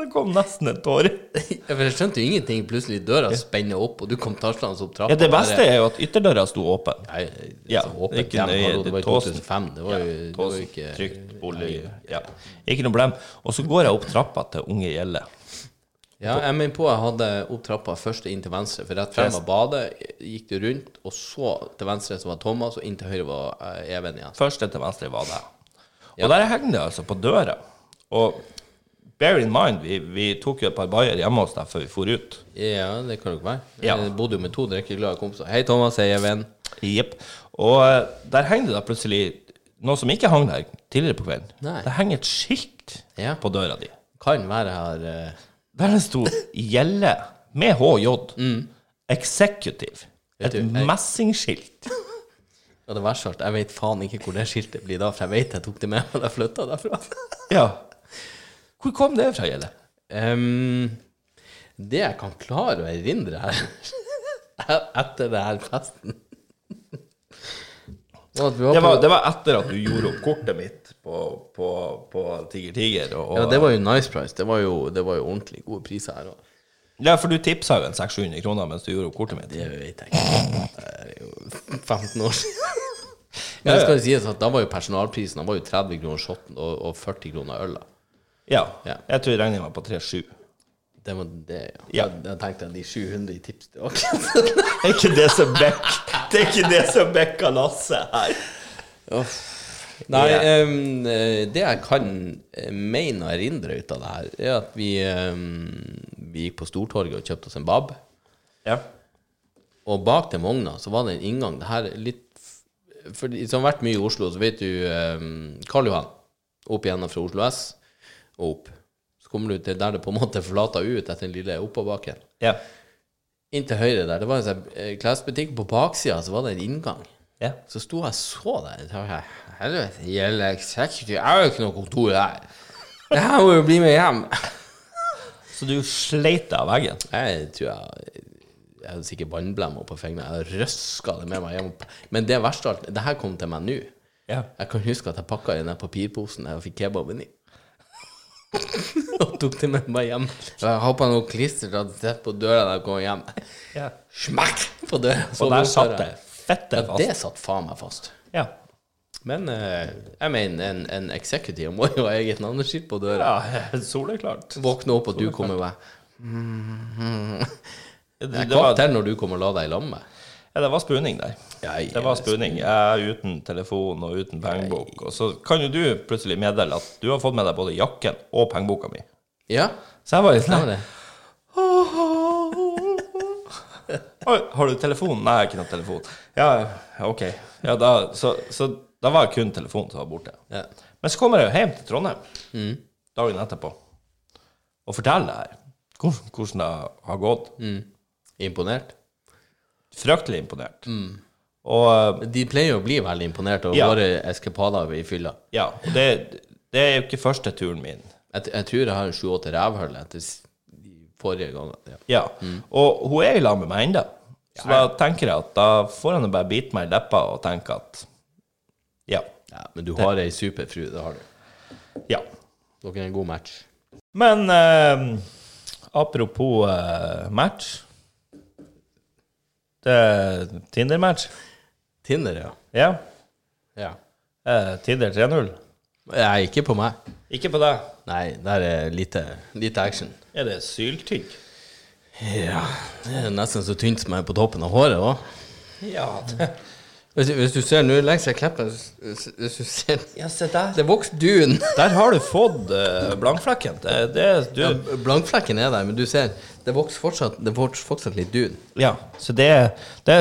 Det kom nesten en tåre. Ja, For jeg skjønte jo ingenting. Plutselig døra spenner opp, og du kom tarslende opp trappa. Ja, det beste er jo at ytterdøra sto åpen. Nei, Ja, altså, åpent ikke hjem, nøye, hallo, det var i tåsen. 2005. Det var jo, det var jo Tåsen, ikke trygt, bolig. Ja. Ikke noe problem. Og så går jeg opp trappa til Unge Gjelle. Ja, jeg mener på jeg hadde opp trappa først inn til venstre, for rett frem var badet, gikk du rundt, og så til venstre så var Thomas, og inn til høyre var eh, Even igjen. Første til venstre var det. Og der henger det altså på døra. Og bear in mind, vi, vi tok jo et par bayer hjemme hos deg før vi for ut. Ja, det kan det ikke være. Ja. Jeg bodde jo med to drikkeglade kompiser. Hei, Thomas, hei, Even. Jepp. Og eh, der henger det da plutselig noe som ikke hang der tidligere på kvelden. Nei. Det henger et skilt Ja. på døra di. Kan være her eh, Der det sto 'Gjelle' med HJ. Executive. Et Mm. du, jeg- messingskilt. Og det verste av alt, jeg vet faen ikke hvor det skiltet blir da, for jeg vet jeg tok det med meg da jeg flytta derfra. Ja. Hvor kom det fra, Gjelle? Ehm, det jeg kan klare å e-, erindre her etter det her festen Og at vi var Det var, på- det var etter at du gjorde opp kortet mitt på, på, på Tiger Tiger. Og, Ja, det var jo nice price. Det var jo, det var jo ordentlig gode priser her. Og Ja, for du tipsa jo en 600-700 kroner mens du gjorde opp kortet mitt. det vet jeg ikke. Det er jo 15 år siden. Men det skal jo sies at da var jo personalprisen Da var jo 30 kroner shotten og, og 40 kroner øla. Ja. Ja. Jeg tror regninga var på 3-7. Det var det, ja. Ja. Da, da tenkte jeg de 700 i tips til oss. Det er ikke det som bekk Det er ikke det som bekka Lasse her. Nei, Ja. em, eh, det jeg kan eh, mene og erindre ut av det her, er at vi, em, vi gikk på Stortorget og kjøpte oss en bab. Ja. Og bak den vogna så var det en inngang. Det her er litt f- For de som har vært mye i Oslo, så vet du ehm, Karl Johan. Opp igjennom fra Oslo S og opp. Så kommer du til der det på en måte forlater ut etter den lille oppoverbakken. Ja. Inn til høyre der. Det var en sånn eh, klesbutikk. På baksida så var det en inngang. ja. Så sto jeg og så der. Så var jeg, Helvete, gjelder executive? Jeg har jo ikke noe kontor her. Det her må jo bli med hjem. Så du sleit deg av veggen? Jeg tror jeg Jeg hadde sikkert vannblemmer på fingrene. Jeg røska det med meg hjem. Men det verste av alt Det her kom til meg nå. Ja. Jeg kan huske at jeg pakka i den der papirposen jeg fikk kebaben i. Og tok det med meg hjem. Jeg har på noe klister som hadde sett på døra da jeg kom hjem. ja. Smekk på døra. så Og der låste satt døra. det fette Ja, fast. det satt faen meg fast. Ja. Men eh, jeg mener, en, en executive må jo ha eget navneskilt på døra. ja. Soleklart. Våkne opp, og du kommer med. Mm-hmm. Det, Jeg det, var, kvarter når du kommer og la deg i lag med meg. ja, det var spooning der. Ja, jeg- Det var spooning. Jeg er uten telefon og uten pengebok. Og så kan jo du plutselig meddele at du har fått med deg både jakken og pengeboka mi. Ja, Så jeg var litt det sånn var det. Oi, har du telefon? Nei, jeg har ikke noe telefon. Ja, ok. Ja, da, så, så da var det kun telefonen som var borte. Ja. Men så kommer jeg jo hjem til Trondheim dagen etterpå og forteller det her. Hvor- Hvordan det har gått. Imponert? Fryktelig imponert. Og De pleier å bli veldig imponert over Ja. våre eskapader i fylla. ja, og det, det er jo ikke første turen min. Jeg, t- jeg tror jeg har en sju-åtte rævhull etter s- de forrige gangene. Ja. Ja. Og hun er i lag med meg ennå. Så da tenker jeg at da får han jo bare bite meg i leppa og tenke at ja. Ja, men du har ei superfru, det har du. Ja. Dere er en god match. Men eh, apropos eh, match Det er Tinder-match. Tinder, ja. Ja. ja. Eh, Tinder 3-0. Nei, ikke på meg. Ikke på deg. Nei, der er lite, lite action. Er det syltygg? Ja. Det er nesten så tynt som jeg er på toppen av håret òg. Ja, det Hvis, hvis du ser nå legger seg kleppen hvis, hvis du ser, Ja, se der. Det vokser dun. Der har du fått eh, blankflekken. Det, det, du, Ja, ja. blankflekken er der, men du ser, det vokser fortsatt, det vokser fortsatt litt dun. Så det, det,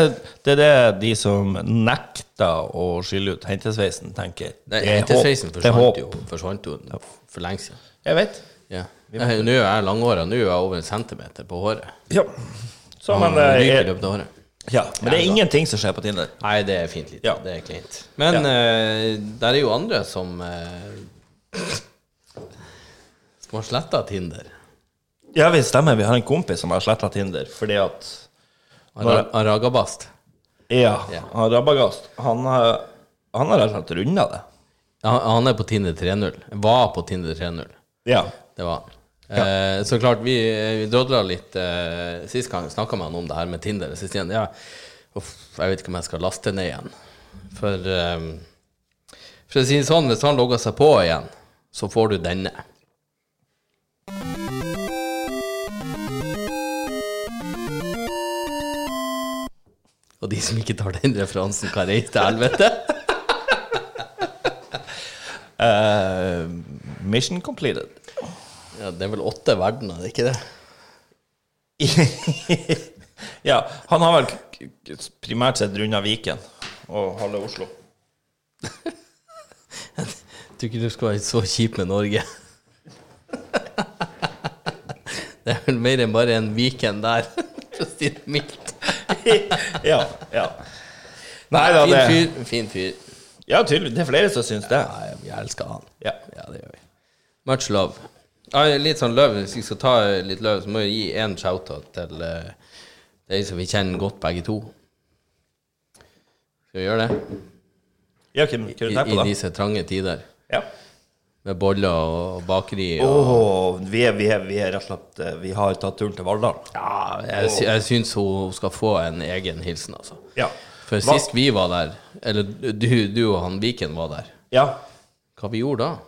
det er det de som nekter å skylle ut hentesveisen, tenker. Det Nei, er håp. Interfacen Det er håp. forsvant jo, forsvant jo for lenge siden. Jeg vet. Ja. Jeg- Nå er jeg langhåra. Nå er jeg over en centimeter på håret. Ja. Så, men, Jeg eh, ryker i jeg, løpet av håret. ja, men det er ingenting som skjer på Tinder. Nei, det er fint lite. Ja. Det er cleant. Men Ja. eh, der er jo andre som eh, Som har sletta Tinder. Ja, vi stemmer. Vi har en kompis som har sletta Tinder fordi at Ara Aragabast. Ja, Ja. han Rabagast, han har han har rett og slett runda det. Han, han er på Tinder 3.0. Var på Tinder 3.0. Ja. Det var han. Eh, så klart, vi, vi drodla litt eh, sist gang, snakka med han om det her med Tinder. Sist igjen, ja, uff, jeg vet ikke om jeg skal laste ned igjen. For, eh, for å si det sånn, hvis han logger seg på igjen, så får du denne. Og de som ikke tar den referansen, kan reise til helvete. Eh, mission completed. Ja, det er vel åtte verdener, er det ikke det? ja, han har vel k- k- primært sett runda Viken og halve Oslo. Jeg tror ikke du skal være så kjip med Norge. Det er vel mer enn bare en weekend der, for å si det mildt. ja. ja. Nei da, Fin det fyr. Fin fyr. Ja, tydelig. Det er flere som syns det. Nei, vi elsker han. Ja. Ja, det gjør vi. Much love. Ja, litt sånn løv, Hvis vi skal ta litt løv, så må vi gi én shout-out til eh, de som vi kjenner godt, begge to. Skal vi gjøre det? Ja, Kim, hva i, du tenker på i da? disse trange tider. Ja. Med boller og bakeri. Og, Åh, vi, er, vi, er, vi er rett og slett eh, Vi har tatt turen til Valldal. ja, jeg, sy- jeg syns hun skal få en egen hilsen, altså. Ja. For Hva- sist vi var der, eller du, du og han Viken var der, ja. hva vi gjorde da? Jeg-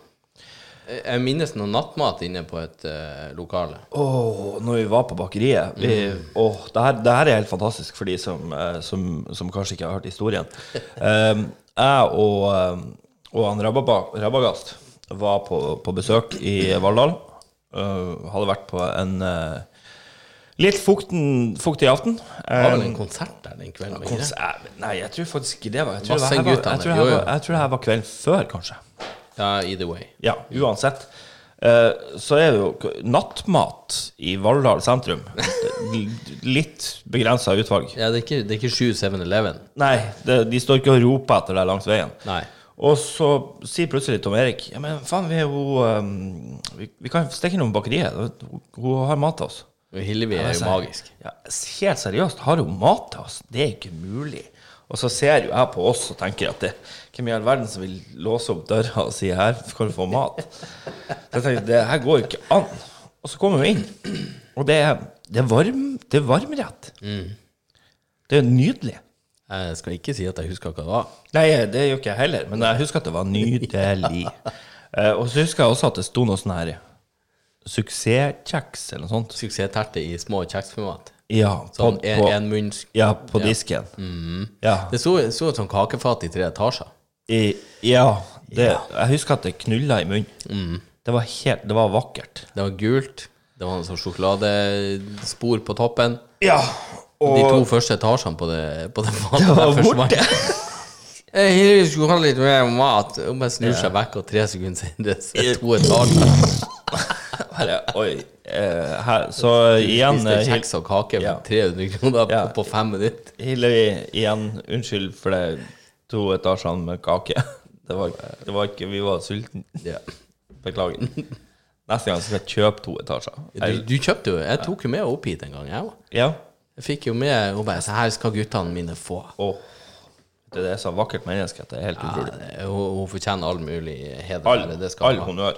Jeg minnes noe nattmat inne på et eh, lokale. Åh, når vi var på bakeriet vi, Mm. åh, det, her, det her er helt fantastisk for de som, eh, som, som kanskje ikke har hørt historien. Um, jeg og, um, og han Rababa- Rabagast var på, på besøk i Valldal. Uh, hadde vært på en eh, litt fukten, fuktig aften. Det var Um, vel en konsert der den kvelden? var det ikke det? Kons- jeg- Nei, jeg tror faktisk ikke det. var Jeg tror det Masse her var, guttene, jeg tror det her jo, jo. var, jeg tror det her var kvelden før, kanskje. Ja, either way. Ja, uansett. Eh, Så er det jo k- nattmat i Valldal sentrum. L- Litt begrensa utvalg. Ja, det er ikke, det er ikke 7 7-Eleven. Nei, det, de står ikke og roper etter deg langs veien. Nei. Og så sier plutselig Tom Erik Ja, men faen, vi er jo eh, vi, vi kan stikke innom bakeriet. Hun- Hun har mat til oss. Og Hillevi er jo Altså, magisk. Ja, helt seriøst, har hun mat til oss? Det er ikke mulig. Og så ser jo jeg på oss og tenker at det, hvem i all verden som vil låse opp døra og si her skal du få mat? Så jeg tenkte, det her går jo ikke an. Og så kommer vi inn, og det er, det er, varm, det er varmrett. Mm. Det er nydelig. Jeg skal ikke si at jeg husker hva det var. Nei, det gjør ikke jeg heller, men jeg husker at det var nydelig. Eh, og så husker jeg også at det sto noe sånn her suksesskjeks eller noe sånt. Suksessterte i små kjeksformat. Ja, på, Sånn en, på, en munns... ja, på disken. Mm. Ja. Det så så ut som kakefat i tre etasjer. I, ja, det, jeg husker at det knulla i munnen. Mm. Det, var helt, det var vakkert. Det var gult. Det var en sånn sjokoladespor på toppen. Ja, og De to første etasjene på det, på det fatet Det var der forsvant. borte. Eh, Hillevi skulle ha litt mer mat. Hun bare snur seg vekk, og tre sekunder senere så er det to etasjer. Bare, Oi. eh, her, så igjen, Spiste eh, Hil- kjeks og kake Ja. for 300 kroner på, Ja. på fem minutter. Hillevi, igjen, unnskyld for det to etasjene med kake. Det var, det var ikke Vi var sultne. Beklager. Neste gang skal jeg kjøpe to etasjer. Du, du kjøpte jo Jeg tok jo med opp hit en gang, jeg òg. Ja. Jeg fikk jo med Hun bare Så her skal guttene mine få. Åh. Det er så vakkert menneske at det er helt utrolig. Eh, Hun, hun fortjener all mulig heder. All, eller det skal all hun ha. honnør.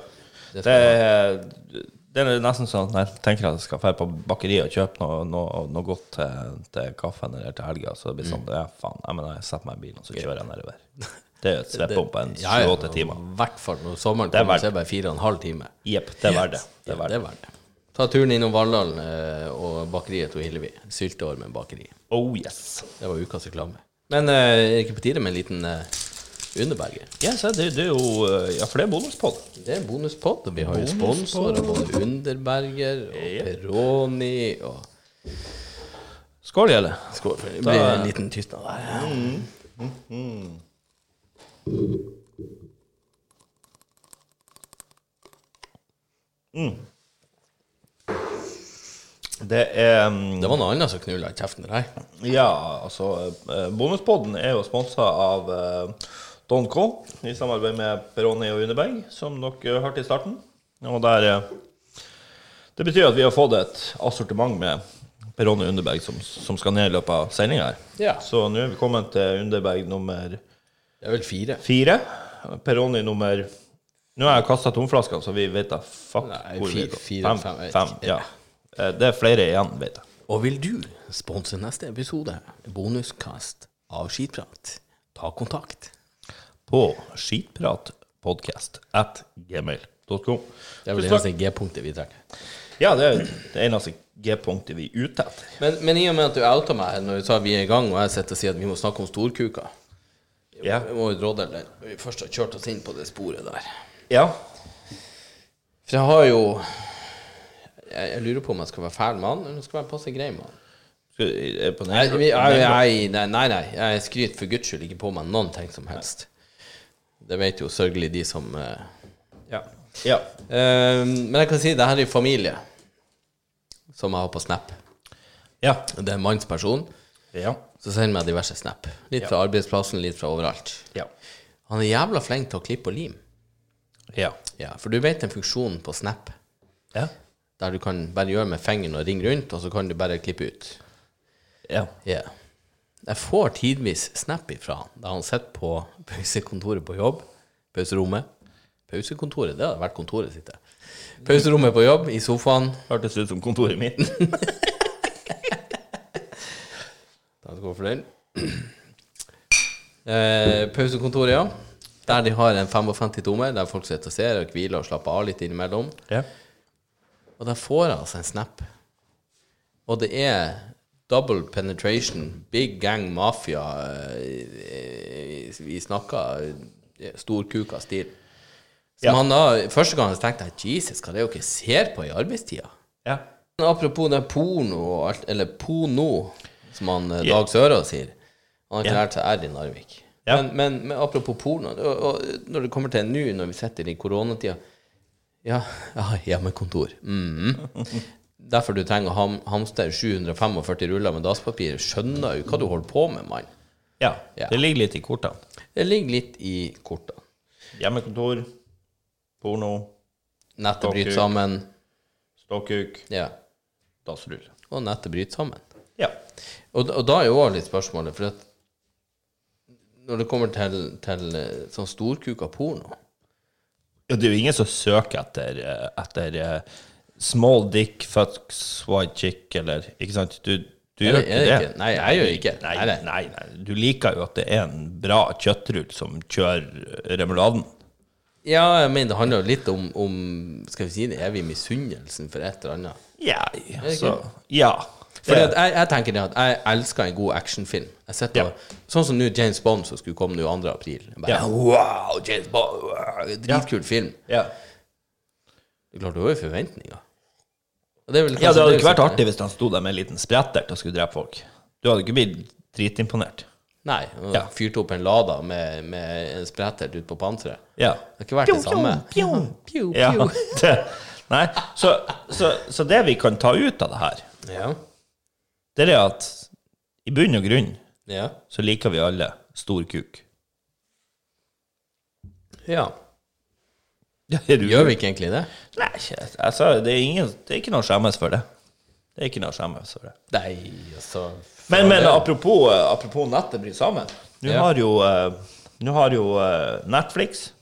Det Det, skal er- det er nesten sånn at jeg tenker at jeg skal dra på bakeriet og kjøpe noe, noe, noe godt til, til kaffen eller til helga. Så det blir Mm. sånn ja, faen, jeg, mener, jeg setter meg i bilen og så kjører jeg nedover. Det er jo et svepp om på en Ja, ja, 7-8 timer. I hvert fall når sommeren Det er kommer, verdt så er det bare fire og en halv time. Jepp, det er verdt det. Ja, det, er verdt det. verdt det. Ta turen innom Valldalen eh, og bakeriet til Hillevi. Sylteormen bakeri. Oh yes. Det var ukas reklame. Men eh, er det ikke på tide med en liten eh, underberger? Ja, så det, det er jo eh, Ja, for det er bonuspod. Det er bonuspod, og vi har jo sponsorer. Både Underberger og Peroni og Skål, Gjelle. Skål for det. blir en liten Mm. tystnad der. Det er mm, Det var noe annet som knulla i kjeften der. Ja, altså eh, Bonuspodden er jo sponsa av eh, Don K i samarbeid med Peroni og Uneberg, som dere hørte i starten. Og der eh, Det betyr at vi har fått et assortiment med Peroni og Underberg som, som skal ned i løpet av sendinga her. Ja. Så nå er vi kommet til Underberg nummer Det er vel fire. fire. Peroni nummer Nå har jeg kasta tomflaskene, så vi vet da fuck Nei, hvor vi fire- fire, fem, jeg Fem. vet fem ikke. ja. Eh, Det er flere igjen, vet jeg. Og vil du sponse neste episode, bonuskast av skitprat, ta kontakt. på skitpratpodkast at gmail.com. Det er vel det eneste G-punktet vi trekker. Ja, det er det eneste G-punktet vi er ute etter. Men, men i og med at du outa meg når du sa vi er i gang, og jeg sitter og sier at vi må snakke om storkuka Ja. Vi må jo drodle litt når vi først har kjørt oss inn på det sporet der. ja. For jeg har jo Jeg, jeg lurer på om jeg skal være fæl mann, eller om jeg skal være passe grei mann. Skal vi- er på den- Jeg, jeg, jeg, jeg, nei, nei, nei, jeg skryter for guds skyld ikke på meg noen ting som helst. Det vet jo sørgelig de som eh, ja. ja. Eh, men jeg kan si det her er familie, som jeg har på Snap. Ja. Det er en mannsperson Ja. som sender meg diverse Snap. Litt fra arbeidsplassen, litt fra overalt. Ja. Han er jævla flink til å klippe og lim. Ja. Ja, For du vet den funksjonen på Snap Ja. der du kan bare gjøre med fingeren og ringe rundt, og så kan du bare klippe ut. ja. Ja. Jeg får tidvis snap ifra han da han sitter på pausekontoret på jobb. Pauserommet. Pausekontoret, det hadde vært kontoret sitt. det. Pauserommet på jobb, i sofaen. Hørtes ut som kontoret mitt. Da skal vi for den. Eh, pausekontoret, ja. Der de har en 55 tommer, der folk sitter og ser og hviler og slapper av litt innimellom. Ja. Og der får jeg altså en snap. Og det er double penetration, big gang mafia eh, Vi snakker eh, storkuka stil. Som Ja. han da, Første gangen så tenkte jeg Jesus, hva det er dere ser på i arbeidstida? ja. Men Apropos det porno og alt, eller pono, som han eh, Ja. Dag Sørås sier. Han har ikke Ja. lært seg R i Narvik. Ja. Men, men, men apropos porno, og, og når det kommer til nå, når vi sitter i koronatida Ja, jeg har hjemmekontor. Mhm. Derfor du trenger å ham, hamstre 745 ruller med dasspapir. Skjønner jo hva du holder på med, mann. ja. Ja. Det ligger litt i kortene. Det ligger litt i kortene. Hjemmekontor, porno, Nettet Ok. bryter sammen. ståkuk, Ja. dassrull. Og nettet bryter sammen. Ja. Og, og da er jo også litt spørsmålet, for at når det kommer til, til eh, sånn storkuka porno Ja, det er jo ingen som søker etter, eh, etter eh, small dick fucks white chick, eller Ikke sant? Du, du Er gjør det- ikke er det det. ikke? Nei, jeg gjør ikke. Nei, Nei, nei, nei. nei, Du liker jo at det er en bra kjøttrull som kjører eh, remuladen. Ja, jeg mener det handler jo litt om, om skal vi si det, evig misunnelsen for et eller annet. Ja, det så ikke? Ja. Fordi at jeg, jeg tenker det at jeg elsker en god actionfilm. Jeg sitter Ja. og, Sånn som nå James Bond, som skulle komme nå 2. april. Jeg Bare, Ja. Wow, James Bond! Wow, dritkul film. ja. Altså, Det er klart, du har jo forventninger. Og det er vel ja, kanskje det hadde vi ikke vært sitter- artig hvis han sto der med en liten sprettert og skulle drepe folk. Du hadde ikke blitt dritimponert. Nei. og Ja. Fyrte opp en Lada med, med en sprettert ut på panseret. Ja. Det har ikke vært det samme. ja. Det, nei, så, så, så det vi kan ta ut av det her Ja. det er at i bunn og grunn Ja. så liker vi alle stor kuk. ja. Er du- Gjør vi ikke egentlig det? Nei, ikke- altså, det er, ingen, det er ikke noe å skjemmes for det. Det er ikke noe å skjemmes for det. Nei, altså Men, men apropos, eh, apropos nettet bryter sammen. Nå Ja. har jo, eh, nå har jo eh, Netflix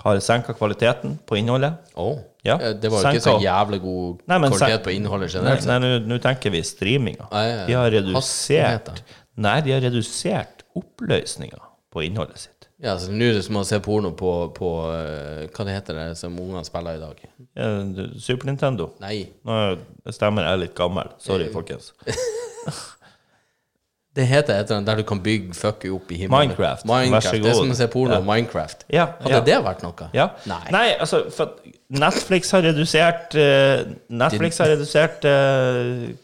har senka kvaliteten på innholdet. Å. Ja. Eh, Det var jo ikke så Senka. jævlig god Nei, men sen- kvalitet på innholdet Nei, generelt. nei, nå- nå tenker vi streaminga. Ja, ja, ja. De har Hastigheten. redusert Nei, de har redusert oppløsninga på innholdet sitt. Ja, så Nå er det som å se porno på, på eh, Hva det heter det som ungene spiller i dag? Eh, Super Nintendo. Nei. Nå stemmer jeg er litt gammel. Eh, Sorry, folkens. Det heter et eller annet der du kan bygge fucket opp i himmelen. Minecraft. Minecraft. Vær så Det er god. som å se porno Ja. om Minecraft. Ja, Hadde ja. det vært noe? Ja. Nei. altså for at Netflix har redusert eh, Netflix har redusert eh,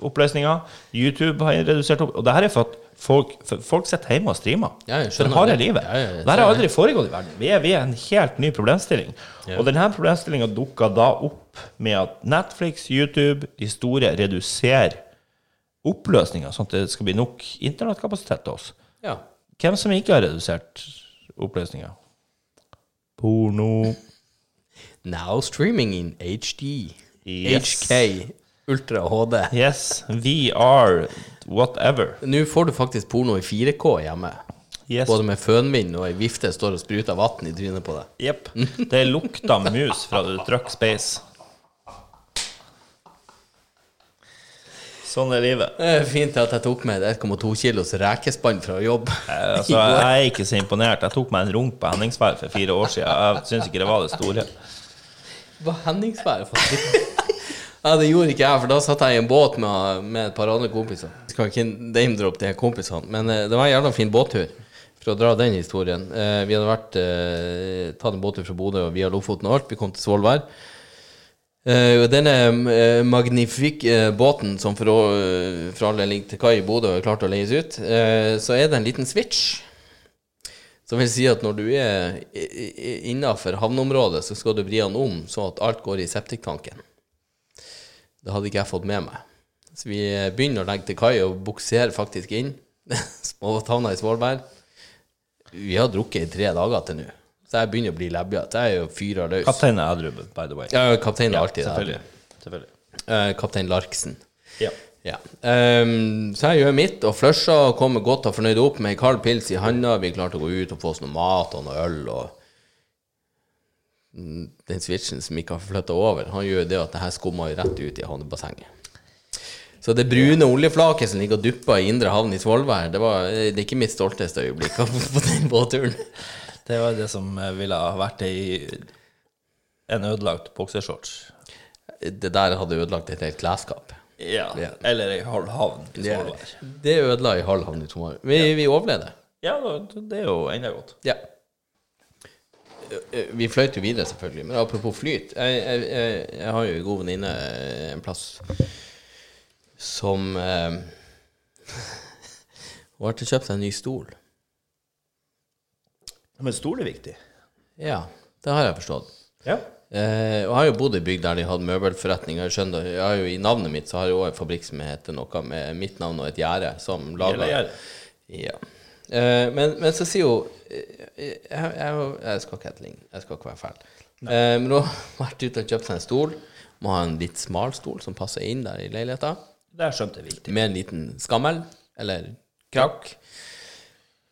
oppløsninga. YouTube har redusert opp... Og det her er for at folk, for folk sitter hjemme og streamer. Ja, jeg skjønner For de har det det. livet. Ja, ja, jeg det her har ser aldri foregått i verden. Vi er, vi er en helt ny problemstilling. Og denne problemstillinga dukka da opp med at Netflix, YouTube, de store reduserer oppløsninga, sånn at det skal bli nok internettkapasitet til oss. Ja. Hvem som ikke har redusert oppløsninga? Porno. Now streaming in HD. Yes. HK. Ultra HD. Yes, VR, whatever. Nå får du faktisk porno i 4K hjemme. Yes. Både med fønvind og ei vifte står og spruter vann i trynet på deg. Jepp. Det lukta mus fra du trykker space. Sånn er livet. Det er fint at jeg tok med et 1,2 kilos rekespann fra jobb. Altså, jeg er ikke så imponert. Jeg tok meg en runk på Henningsvær for fire år siden. Jeg syns ikke det var det store. Hva Henningsværet for Ja, det gjorde ikke jeg, for da satt jeg i en båt med, med et par andre kompiser. Jeg skal ikke name-droppe de her kompisene, men eh, det var en jævla fin båttur. For å dra den historien. Eh, vi hadde vært, eh, tatt en båttur fra Bodø og via Lofoten og alt. Vi kom til Svolvær. Eh, og denne eh, magnifikke eh, båten som for, å, eh, for alle ligger til kai i Bodø og er klart å leies ut, eh, så er det en liten switch. Som vil si at når du er innafor havneområdet, så skal du vri den om sånn at alt går i septiktanken. Det hadde ikke jeg fått med meg. Så vi eh, begynner å legge til kai og bukserer faktisk inn. Småtavna i Svolvær. Vi har drukket i tre dager til nå, så jeg begynner å bli lebbjete. Jeg er jo fyra løs. Kaptein er edru, by the way. Ja, kaptein er alltid det. Selvfølgelig. Selvfølgelig. Eh, Kaptein Larksen. Ja. Ja. Ehm, så jeg gjør mitt og flusha og kommer godt og fornøyd opp med ei kald pils i handa. Vi klarte å gå ut og få oss noe mat og noe øl og Mm, Den switchen som ikke har flytta over, han gjør jo det at det her skummer jo rett ut i havnebassenget. Så det brune oljeflaket som ligger og dupper i indre havn i Svolvær, det, var, eh, det er ikke mitt stolteste øyeblikk på den båtturen. Det var det som eh, ville ha vært ei en ødelagt boksershorts. Det der hadde ødelagt et helt klesskap. Ja. Ja. Eller ei halv havn i Det, Svolvær. det ødela i halv havn i Tromsø. Vi, vi overlevde. Ja, det er jo enda godt. Ja. Eh, Vi fløyt jo videre, selvfølgelig. Men apropos flyt. Jeg, jeg, jeg, jeg har jo en god venninne eh, en plass som eh, Hun har til kjøpt seg en ny stol. Men stol er viktig. Ja, det har jeg forstått. Ja. Eh, og jeg har jo bodd i bygd der de hadde møbelforretning. og Jeg skjønner, jeg har jo, I navnet mitt så har jeg også en fabrikk som heter noe med mitt navn og et gjerde. som lager... Gjerde. Ja. Eh, men, men så sier hun eh, jeg, jeg, jeg skal ikke etterligne. Jeg skal ikke være fæl. Eh, men hun har vært ute og kjøpt seg en stol. Må ha en litt smal stol som passer inn der i leiligheta. Der skjønte jeg viktig. Med en liten skammel eller krakk.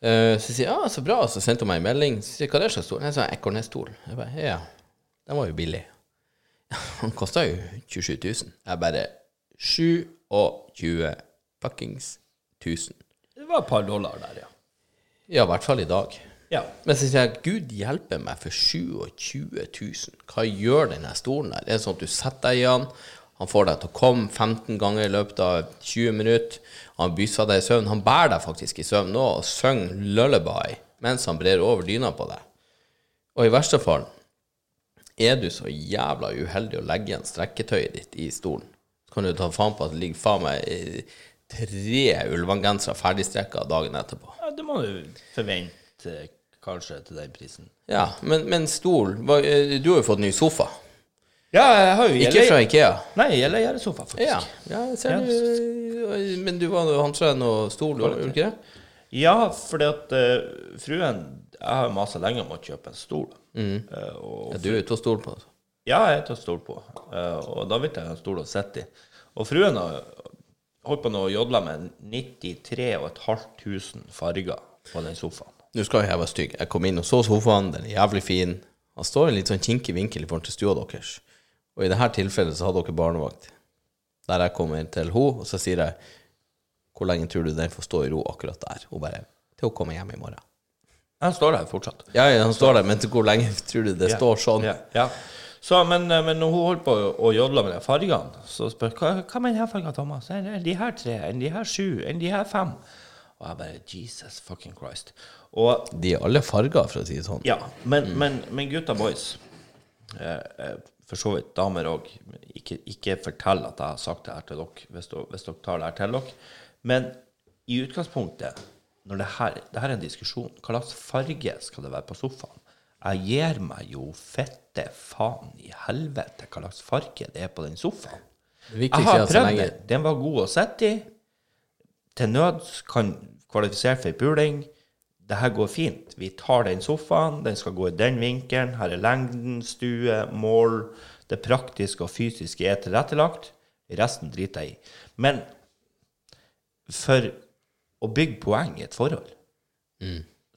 Eh, så sier jeg ja, så bra, så sendte hun meg en melding. Så sier jeg hva er det slags stol? Jeg sa Ekornes-stol. Jeg bare, ja, den var jo billig. Han kosta jo 27 000. Jeg bare 27 fuckings 1000. Det var et par dollar der, ja. Ja, i hvert fall i dag. Ja. Men så sier jeg Gud hjelpe meg for 27 000. Hva gjør denne stolen der? Er det sånn at du setter deg i han, han får deg til å komme 15 ganger i løpet av 20 minutter, han bysser deg i søvn, han bærer deg faktisk i søvn nå og synger lullaby mens han brer over dyna på deg. Og i verste fall er du så jævla uheldig å legge igjen strekketøyet ditt i stolen. Så kan du ta faen på at det ligger faen meg eh, tre ulvangensere ferdigstrekka dagen etterpå. Ja, det må du forvente eh, kanskje til den prisen. Ja, men, men stol hva- eh, Du har jo fått ny sofa. Ja, jeg har jo Ikke fra Ikea. Nei, eller gjerdesofa, faktisk. Ja, ja jeg ser du eh, Men du var hamstra noe stol, gjorde du ikke det? Ja, fordi at eh, fruen Jeg har masa lenge om å kjøpe en stol. Eh, og, Ja, du er ute og stoler på det. ja, jeg tar stol på, Eh, og da vil jeg ha en stol å sitte i. Og fruen har holdt på nå og jodla med 93.500 farger på den sofaen. Nå skal jeg være stygg. Jeg kom inn og så sofaen, den er jævlig fin. Han står i en litt sånn kinkig vinkel i forhold til stua deres. Og i dette tilfellet så hadde dere barnevakt. Der jeg kommer inn til henne, og så sier jeg Hvor lenge tror du den får stå i ro akkurat der? Hun bare Til hun kommer hjem i morgen. Den står der fortsatt. Ja, ja, han står der, men til hvor lenge tror du det står sånn? Ja, ja. Så, men, eh, men når hun holdt på å jodle med de fargene, så spør jeg hva, hva med denne fargen, Thomas? Er det de her tre? Er de her sju? Er de her fem? Og jeg bare Jesus fucking Christ. Og De er alle farger, for å si det sånn. Ja, men, men, men gutta boys, eh, eh, for så vidt damer òg, ikke, ikke fortell at jeg har sagt det her til dere, hvis dere, hvis dere tar det her til dere. Men i utgangspunktet, når det her, det her er en diskusjon, hva slags farge skal det være på sofaen? Jeg gir meg jo fette faen i helvete hva slags farge det er på den sofaen. Det viktigste Jeg er har at så prøvd lenge den. Den var god å sitte i. Til nød kan kvalifisere for ei puling. Det her går fint. Vi tar den sofaen, den skal gå i den vinkelen. Her er lengden, stue, mål. Det praktiske og fysiske er tilrettelagt. Resten driter jeg i. Men for å bygge poeng i et forhold,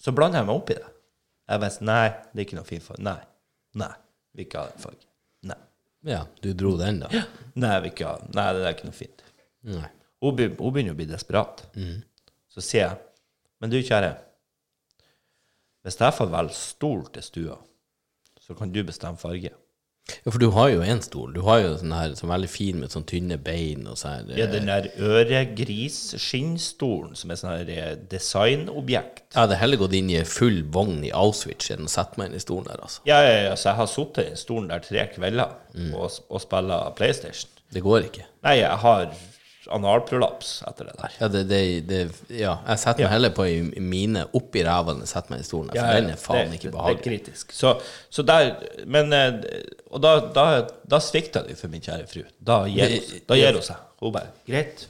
så blander jeg meg opp i det. Jeg vet nei, det er ikke noe fint for Nei. Nei. Vi ikke har den fargen. Nei. Ja, du dro den, da. Nei, jeg vil ikke ha Nei, det er ikke noe fint. Nei. Hun, be, hun begynner å bli desperat. Så sier jeg, men du kjære, hvis jeg får velge stol til stua, så kan du bestemme farge. Ja, for du har jo en stol. Du har jo sånn her som er veldig fin med sånn tynne bein og sånn her. Ja, den der øregris-skinnstolen som er sånn her eh, designobjekt. Jeg hadde heller gått inn i en full vogn i Auschwitz enn å sette meg inn i stolen der, altså. Ja, ja, ja, så jeg har sittet i den stolen der tre kvelder og, s- og spiller PlayStation. Det går ikke. Nei, jeg har analprolaps etter det der. Ja, det, det, det, ja. jeg setter meg heller på ei mine oppi ræva enn å sette meg i stolen der, for den er faen det, ikke Det behagelig. er kritisk. Så, så der Men eh, Og da, da, da svikta du for min kjære fru. Da gir hun seg. Da gir hun seg. Hun bare Greit,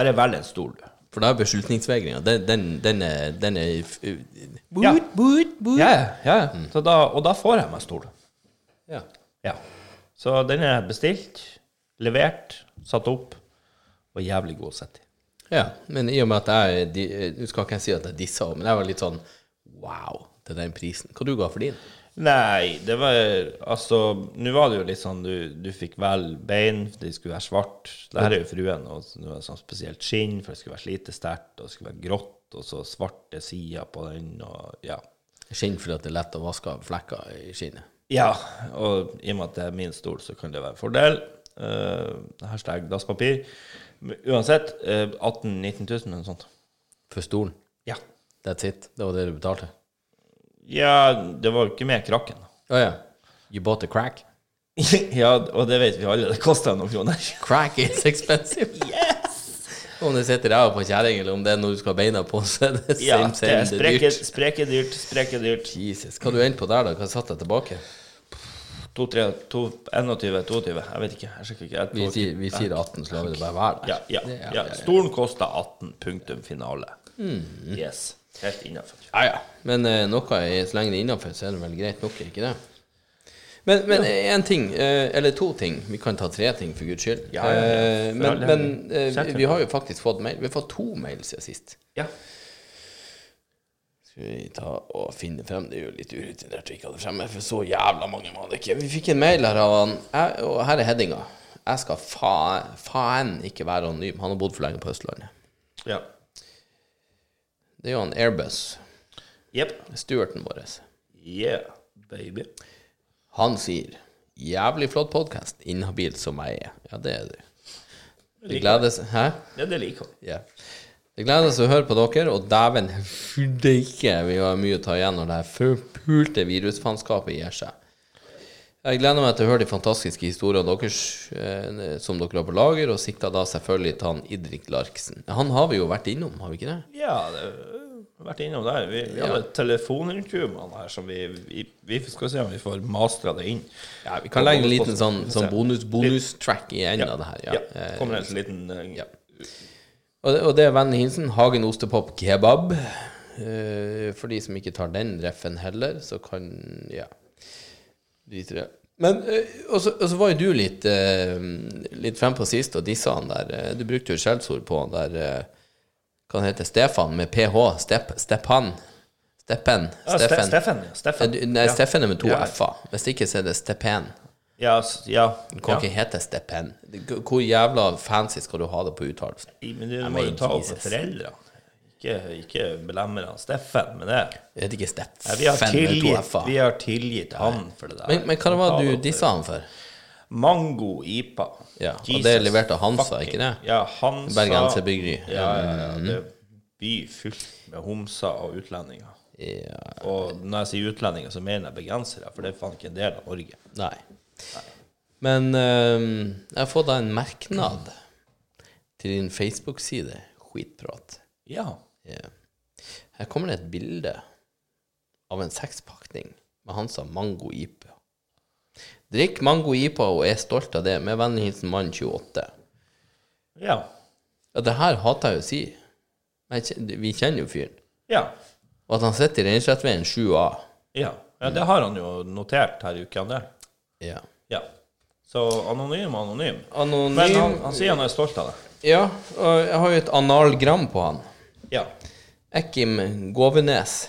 bare velg en stol, du. For da er beslutningsvegringa Den, den, den er, den er f- Ja. Ja, ja. ja. Mm. Så da, og da får jeg meg stol. ja. Ja. Så den er bestilt, levert, satt opp. var jævlig god å sitte i. Ja, men i og med at jeg de, eh, Nå skal ikke jeg si at jeg dissa henne, men jeg var litt sånn wow til den prisen. Hva du ga for din? Nei, det var Altså, nå var det jo litt sånn du, du fikk vel bein, for de skulle være svart. Det her er jo fruen, og så- nå er det sånn spesielt skinn, for det skulle være slite sterkt, og det skulle være grått, og så svarte sider på den, og ja. Skinn fordi at det er lett å vaske av flekker i skinnet. Ja, og i og med at det er min stol, så kan det være en fordel. Eh, hashtag dasspapir. Men Uansett, eh, 18 000-19 000 eller noe sånt. For stolen. Ja. That's it. Det var det du betalte. ja, det var jo ikke med krakken. Å ja. You bought a crack? ja, og det vet vi alle, det kosta noen kroner. Crack is expensive. Om det sitter ræva på kjerring, eller om det er når du skal ha beina på, så er det Ja, same, det same. er Det er spreke, dyrt. spreke dyrt, spreke dyrt. Jesus. Hva du endte på der, da? Hva satt jeg tilbake? 2, 3, 2, 21, 22, jeg vet ikke. Jeg sjekker ikke. Jeg Vi tror- sier, vi sier 18, så lar vi det bare være der. Ja, ja, Det er- Mm. ja. Stolen kosta 18, punktum finale. Yes. Helt innafor. Ja, ja. Men eh, noe er, så lenge det er innafor, så er det vel greit nok, er ikke det? Men, men én ting, eh, eller to ting. Vi kan ta tre ting, for guds skyld. Ja, ja, ja. Eh, For all men del. men eh, Sett vi, det vi på. har jo faktisk fått mail. Vi har fått to mail siden sist. Ja. Skal vi ta og finne frem? Det er jo litt urutinert å ikke ha det fremme, for så jævla mange var det ikke. Vi fikk en mail her av han, jeg, og her er headinga. Jeg skal faen, faen ikke være anonym. Han har bodd for lenge på Østlandet. ja. Det er jo han Airbus, Jepp. stewarden vår. Yeah, baby. Han sier 'Jævlig flott podkast, inhabil som jeg er'. Ja, det er du. Det gledes Hæ? Ja, det liker vi. Ja. Det gledes å høre på dere, og dæven steike, vi har mye å ta igjen når det her forpulte virusfanskapet gir seg. Jeg gleder meg til å høre de fantastiske historiene deres eh, som dere har på lager, og sikter da selvfølgelig til han Idrik Larksen. Han har vi jo vært innom, har vi ikke det? Ja, det har vært innom der. Vi, vi hadde et telefonintervju med han her, som vi, vi, vi skal se om vi får mastra det inn. Ja, Vi kan legge en liten sånn, Vi får sånn se. bonus- bonus-track i enden av det her. Ja. Eh, Kommer en liten eh, Ja. Og det, og det er vennen Hinsen, Hagen Ostepop Kebab. Eh, for de som ikke tar den reffen heller, så kan Ja. Drit i det. Men, eh, og, så, og så var jo du litt, eh, litt frempå sist og dissa han der. eh, Du brukte jo et skjellsord på han der eh, Hva han heter Stefan med ph? Step, Stepan? Steppen? Ja, Ste- Steffen? Steffen. ja, Eh, Steffen. du- Nei, ja. Steffen er med to Ja. f-er. Hvis ikke så er det Stepen. Ja, s- ja. Du kan ja. ikke hete Stepen. Hvor jævla fancy skal du ha det på uttalelsen? Men du må men jo ta opp med Jesus. foreldrene. Ikke, ikke belemre han Steffen med det. Jeg vet ikke, Steff. Nei, vi, har Fenn med to tilgitt, F-er. vi har tilgitt han for det der. men, men hva det var Ta du det opp. dissa han for? Mango IPA. Ja, og Jesus det er levert av Hansa, fucking- ikke det? Mm. Ja, Hansa Bergenser Bryggeri. Ja, ja, ja. Det er by fylt med homser og utlendinger. Ja, Og når jeg sier utlendinger, så mener jeg bergensere, for det er faen ikke en del av Norge. nei. Men ehm, jeg har fått da en merknad til din Facebook-side. Skitprat. Ja. Ja. Her kommer det et bilde av en sekspakning med han som mango IPA. Drikk mango IPA og er stolt av det, med vennlig hilsen mann 28. Ja. Ja, det her hater jeg å si. Men jeg kjen- vi kjenner jo fyren. Ja. Og at han sitter i Reinslettveien 7A. ja. ja det har han jo notert her i uka, han der. Ja. Ja. Så anonym, anonym. Anonym Men han, han sier han er stolt av det. Ja, og jeg har jo et analgram på han. Ja. Ekim Govenes.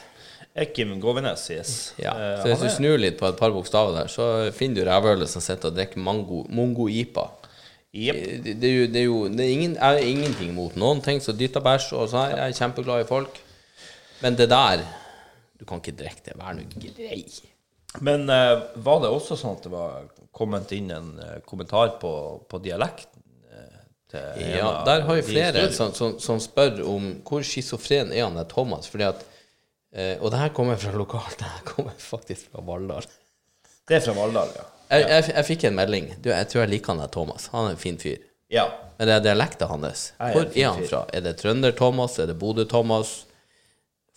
Ekim Govenes, yes. Ja. Eh, Så hvis han du er- snur litt på et par bokstaver der, så finner du rævhølet som sitter og drikker mango, mongo-ipa. Jep. Det, det er jo, det er jo det er ingen, Jeg er ingenting mot noen ting som dytter bæsj og sånn. her. Jeg er kjempeglad i folk. Men det der Du kan ikke drikke det. Vær nå grei. Men eh, var det også sånn at det var kommet inn en eh, kommentar på, på dialekten? eh, til en Ja, av der har jo de flere historiene? som, som, som spør om hvor schizofren er han der Thomas, fordi at eh, Og det her kommer fra lokalt. Det her kommer faktisk fra Valldal. Det er fra Valldal, ja. Jeg, jeg, jeg fikk en melding. Du, jeg tror jeg liker han der Thomas. Han er en fin fyr. Ja. Men det er dialekten hans. Jeg er Hvor en fin er han fyr. fra? Er det Trønder-Thomas? Er det Bodø-Thomas?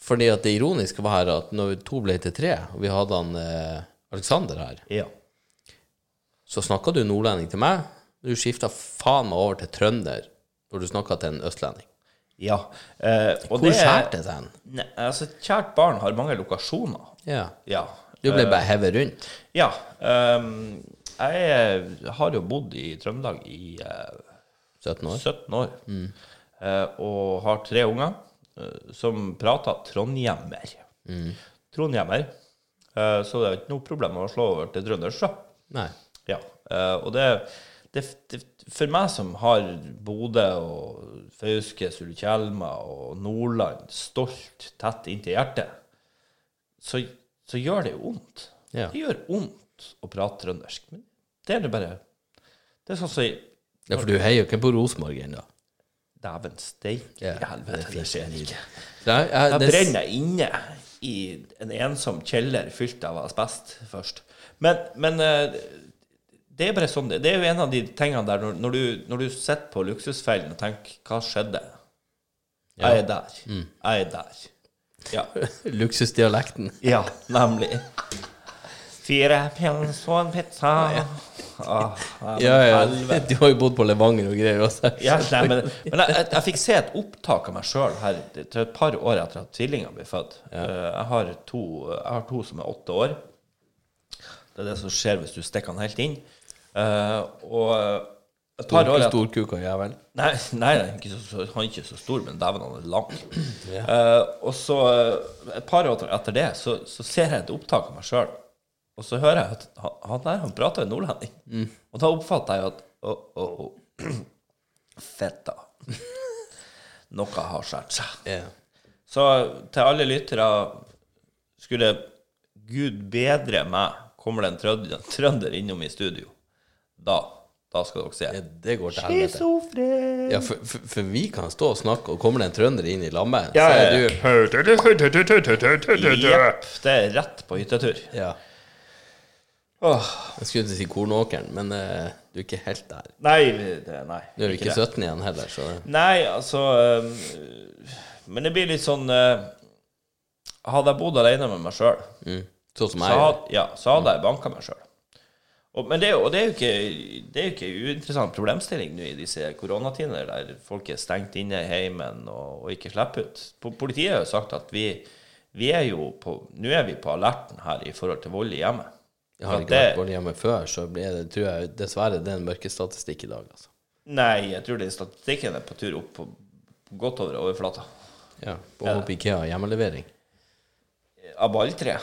Fordi at det ironiske var her at når to ble til tre, og vi hadde han eh, Alexander her, ja. så snakka du nordlending til meg. Du skifta faen meg over til trønder når du snakka til en østlending. ja. Eh, og Hvor det er- skjærte det seg? hen? Nei, altså, kjært barn har mange lokasjoner. Ja. Ja. Du Eh. ble bare hevet rundt. Ja. ehm, jeg har jo bodd i Trøndelag i eh, 17 år. 17 år. Eh, og har tre unger eh, som prater trondhjemmer. Trondhjemmer. Eh, så det er ikke noe problem å slå over til trøndersk. da. Nei. Ja. Eh, og det, det, det For meg som har Bodø og Fauske, Sulitjelma og Nordland stolt tett inntil hjertet, så, så gjør det jo vondt. Ja. Det gjør vondt å prate trøndersk. Men det er det bare Det er sånn som i- Ja, for du heier jo ikke på Rosenborg ennå. Dæven steike Ja, i helvete, det skjer ikke. Nei, jeg- Jeg det- brenner jeg inne i en ensom kjeller fylt av asbest først. Men, men eh, det er bare sånn det Det er jo en av de tingene der når, når, du, når du sitter på luksusfellen og tenker 'hva skjedde'? Jeg er der. Mm. Jeg er der. Ja. Luksusdialekten. ja, nemlig. Fire pils og en pizza. Åh, ja, Ja, ja. helvete. Du har jo bodd på Levanger og greier også. Ja, nei, men men jeg, jeg, jeg fikk se et opptak av meg sjøl her til et par år etter at tvillingene ble født. Eh, Jeg, har to, jeg har to som er åtte år. Det er det som skjer hvis du stikker den helt inn. Eh, og et par år Stor, etter stor kuk og jævel. Nei, nei, nei ikke så, så, han er ikke så stor, men dæven, han er lang. Eh, og så, eh, et par år etter det, så, så ser jeg et opptak av meg sjøl. Og så hører jeg at han, han der han prater jo nordlending. Og da oppfatter jeg jo at Å, å, å. Fetta. Noe har skjært seg. Ja. Så til alle lyttere skulle Gud bedre meg, kommer det en trønder, trønder innom i studio. Da, da skal dere se. Ja, Det går til helvete. Schizofren. Ja, for, for, for vi kan stå og snakke, og kommer det en trønder inn i lammet, Ja, så ja, er ja. du Jepp, det er rett på hyttetur. Ja. Jeg skulle til å si Kornåkeren, men eh, du er ikke helt der. Nei, det, nei. Du er jo ikke det. 17 igjen heller, så Nei, altså øhm, Men det blir litt sånn øh, Hadde jeg bodd alene med meg sjøl, mm. Sånn som så, jeg gjør. had- ja, så hadde jeg banka meg sjøl. Men det, er jo- og det er jo ikke Det er jo ikke en uinteressant problemstilling nå i disse koronatider, der folk er stengt inne i heimen og, og ikke slipper ut. Po- Politiet har jo sagt at vi, vi er jo på Nå er vi på alerten her i forhold til vold i hjemmet. Jeg har For at ikke vært borte hjemme før, så blir det, tror jeg dessverre det er en mørkestatistikk i dag, altså. Nei, jeg tror det statistikken er på tur opp på på godt over overflata. Ja. På ja. Ikea hjemmelevering. Av balltre.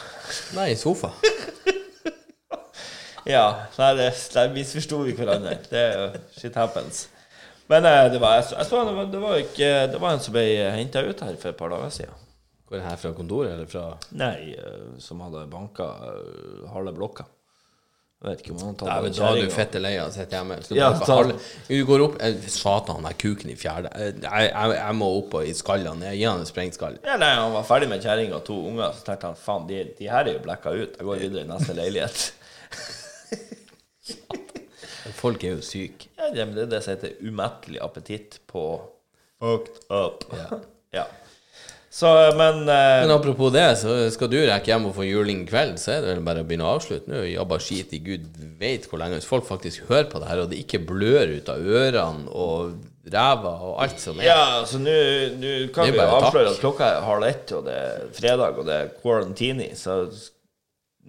Nei, sofa. Ja, nei, det, der misforsto vi hverandre. Det er jo shit happens. Men eh, det var, jeg, så- jeg så, det, var, det, var ikke, det var en som ble henta ut her for et par dager siden. Går det her fra kontoret, eller fra Nei, eh, som hadde banka eh, halve blokka. Jeg vet ikke om han Nei, tatt men den da er kjerringa. du fette lei av å sitte hjemme. Så Ja, bare ta- halve- du går opp eh, Satan, den kuken i fjerde. Eh, Jeg, jeg, jeg må opp og i skallene. Jeg gir han en sprengt skall. Ja, nei, Han var ferdig med kjerringa og to unger, så tenkte han faen, de, de her er jo blekka ut. Jeg går videre i neste leilighet. Folk er jo syke. Ja, det men det er det som heter umettelig appetitt på Fucked up. Ja. Så, men, eh, Men apropos det, så skal du rekke hjem og få juling i kveld, så er det vel bare å begynne å avslutte nå. Jabba skit i gud veit hvor lenge. Hvis folk faktisk hører på det her, og det ikke blør ut av ørene og ræva og alt som er Ja, altså nå nå kan Det er vi jo bare takk. avsløre at klokka er halv ett, og det er fredag, og det er quarantini, så s-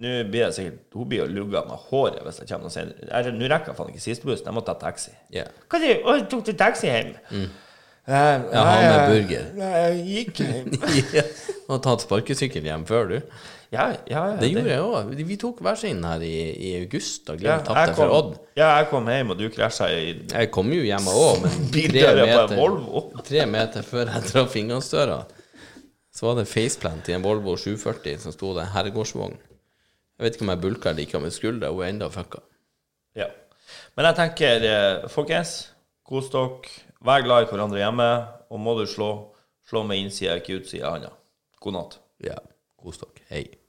nå blir jeg sikkert Hun blir jo lugga med håret hvis jeg kommer noe senere. Jeg- Nå rekker jeg faen ikke siste bussen, jeg må ta taxi. Ja. Hva sier du? Å, tok du taxi hjem? Eh, Ja, nei, han Mm. med jeg- burger. Nei, jeg gikk hjem. Du har tatt sparkesykkel hjem før, du. ja, ja, ja, Det gjorde jeg òg. Vi tok hver sin her i, i august og Ja, Glimt tapte jeg for kom- Odd. Ja, jeg kom hjem, og du krasja i Jeg kom jo hjemme òg, men tre Bildøra på en meter, Volvo. tre meter før jeg traff inngangsdøra, så var det faceplant i en Volvo 740 som sto det herregårdsvogn. Jeg vet ikke om jeg bulka like med skuldra, hun er enda fucka. Ja. Men jeg tenker, eh, folkens, kos dere. Vær glad i hverandre hjemme. Og må du slå, slå med innsida, ikke utsida av handa. God natt. Ja, kos dere. Hei.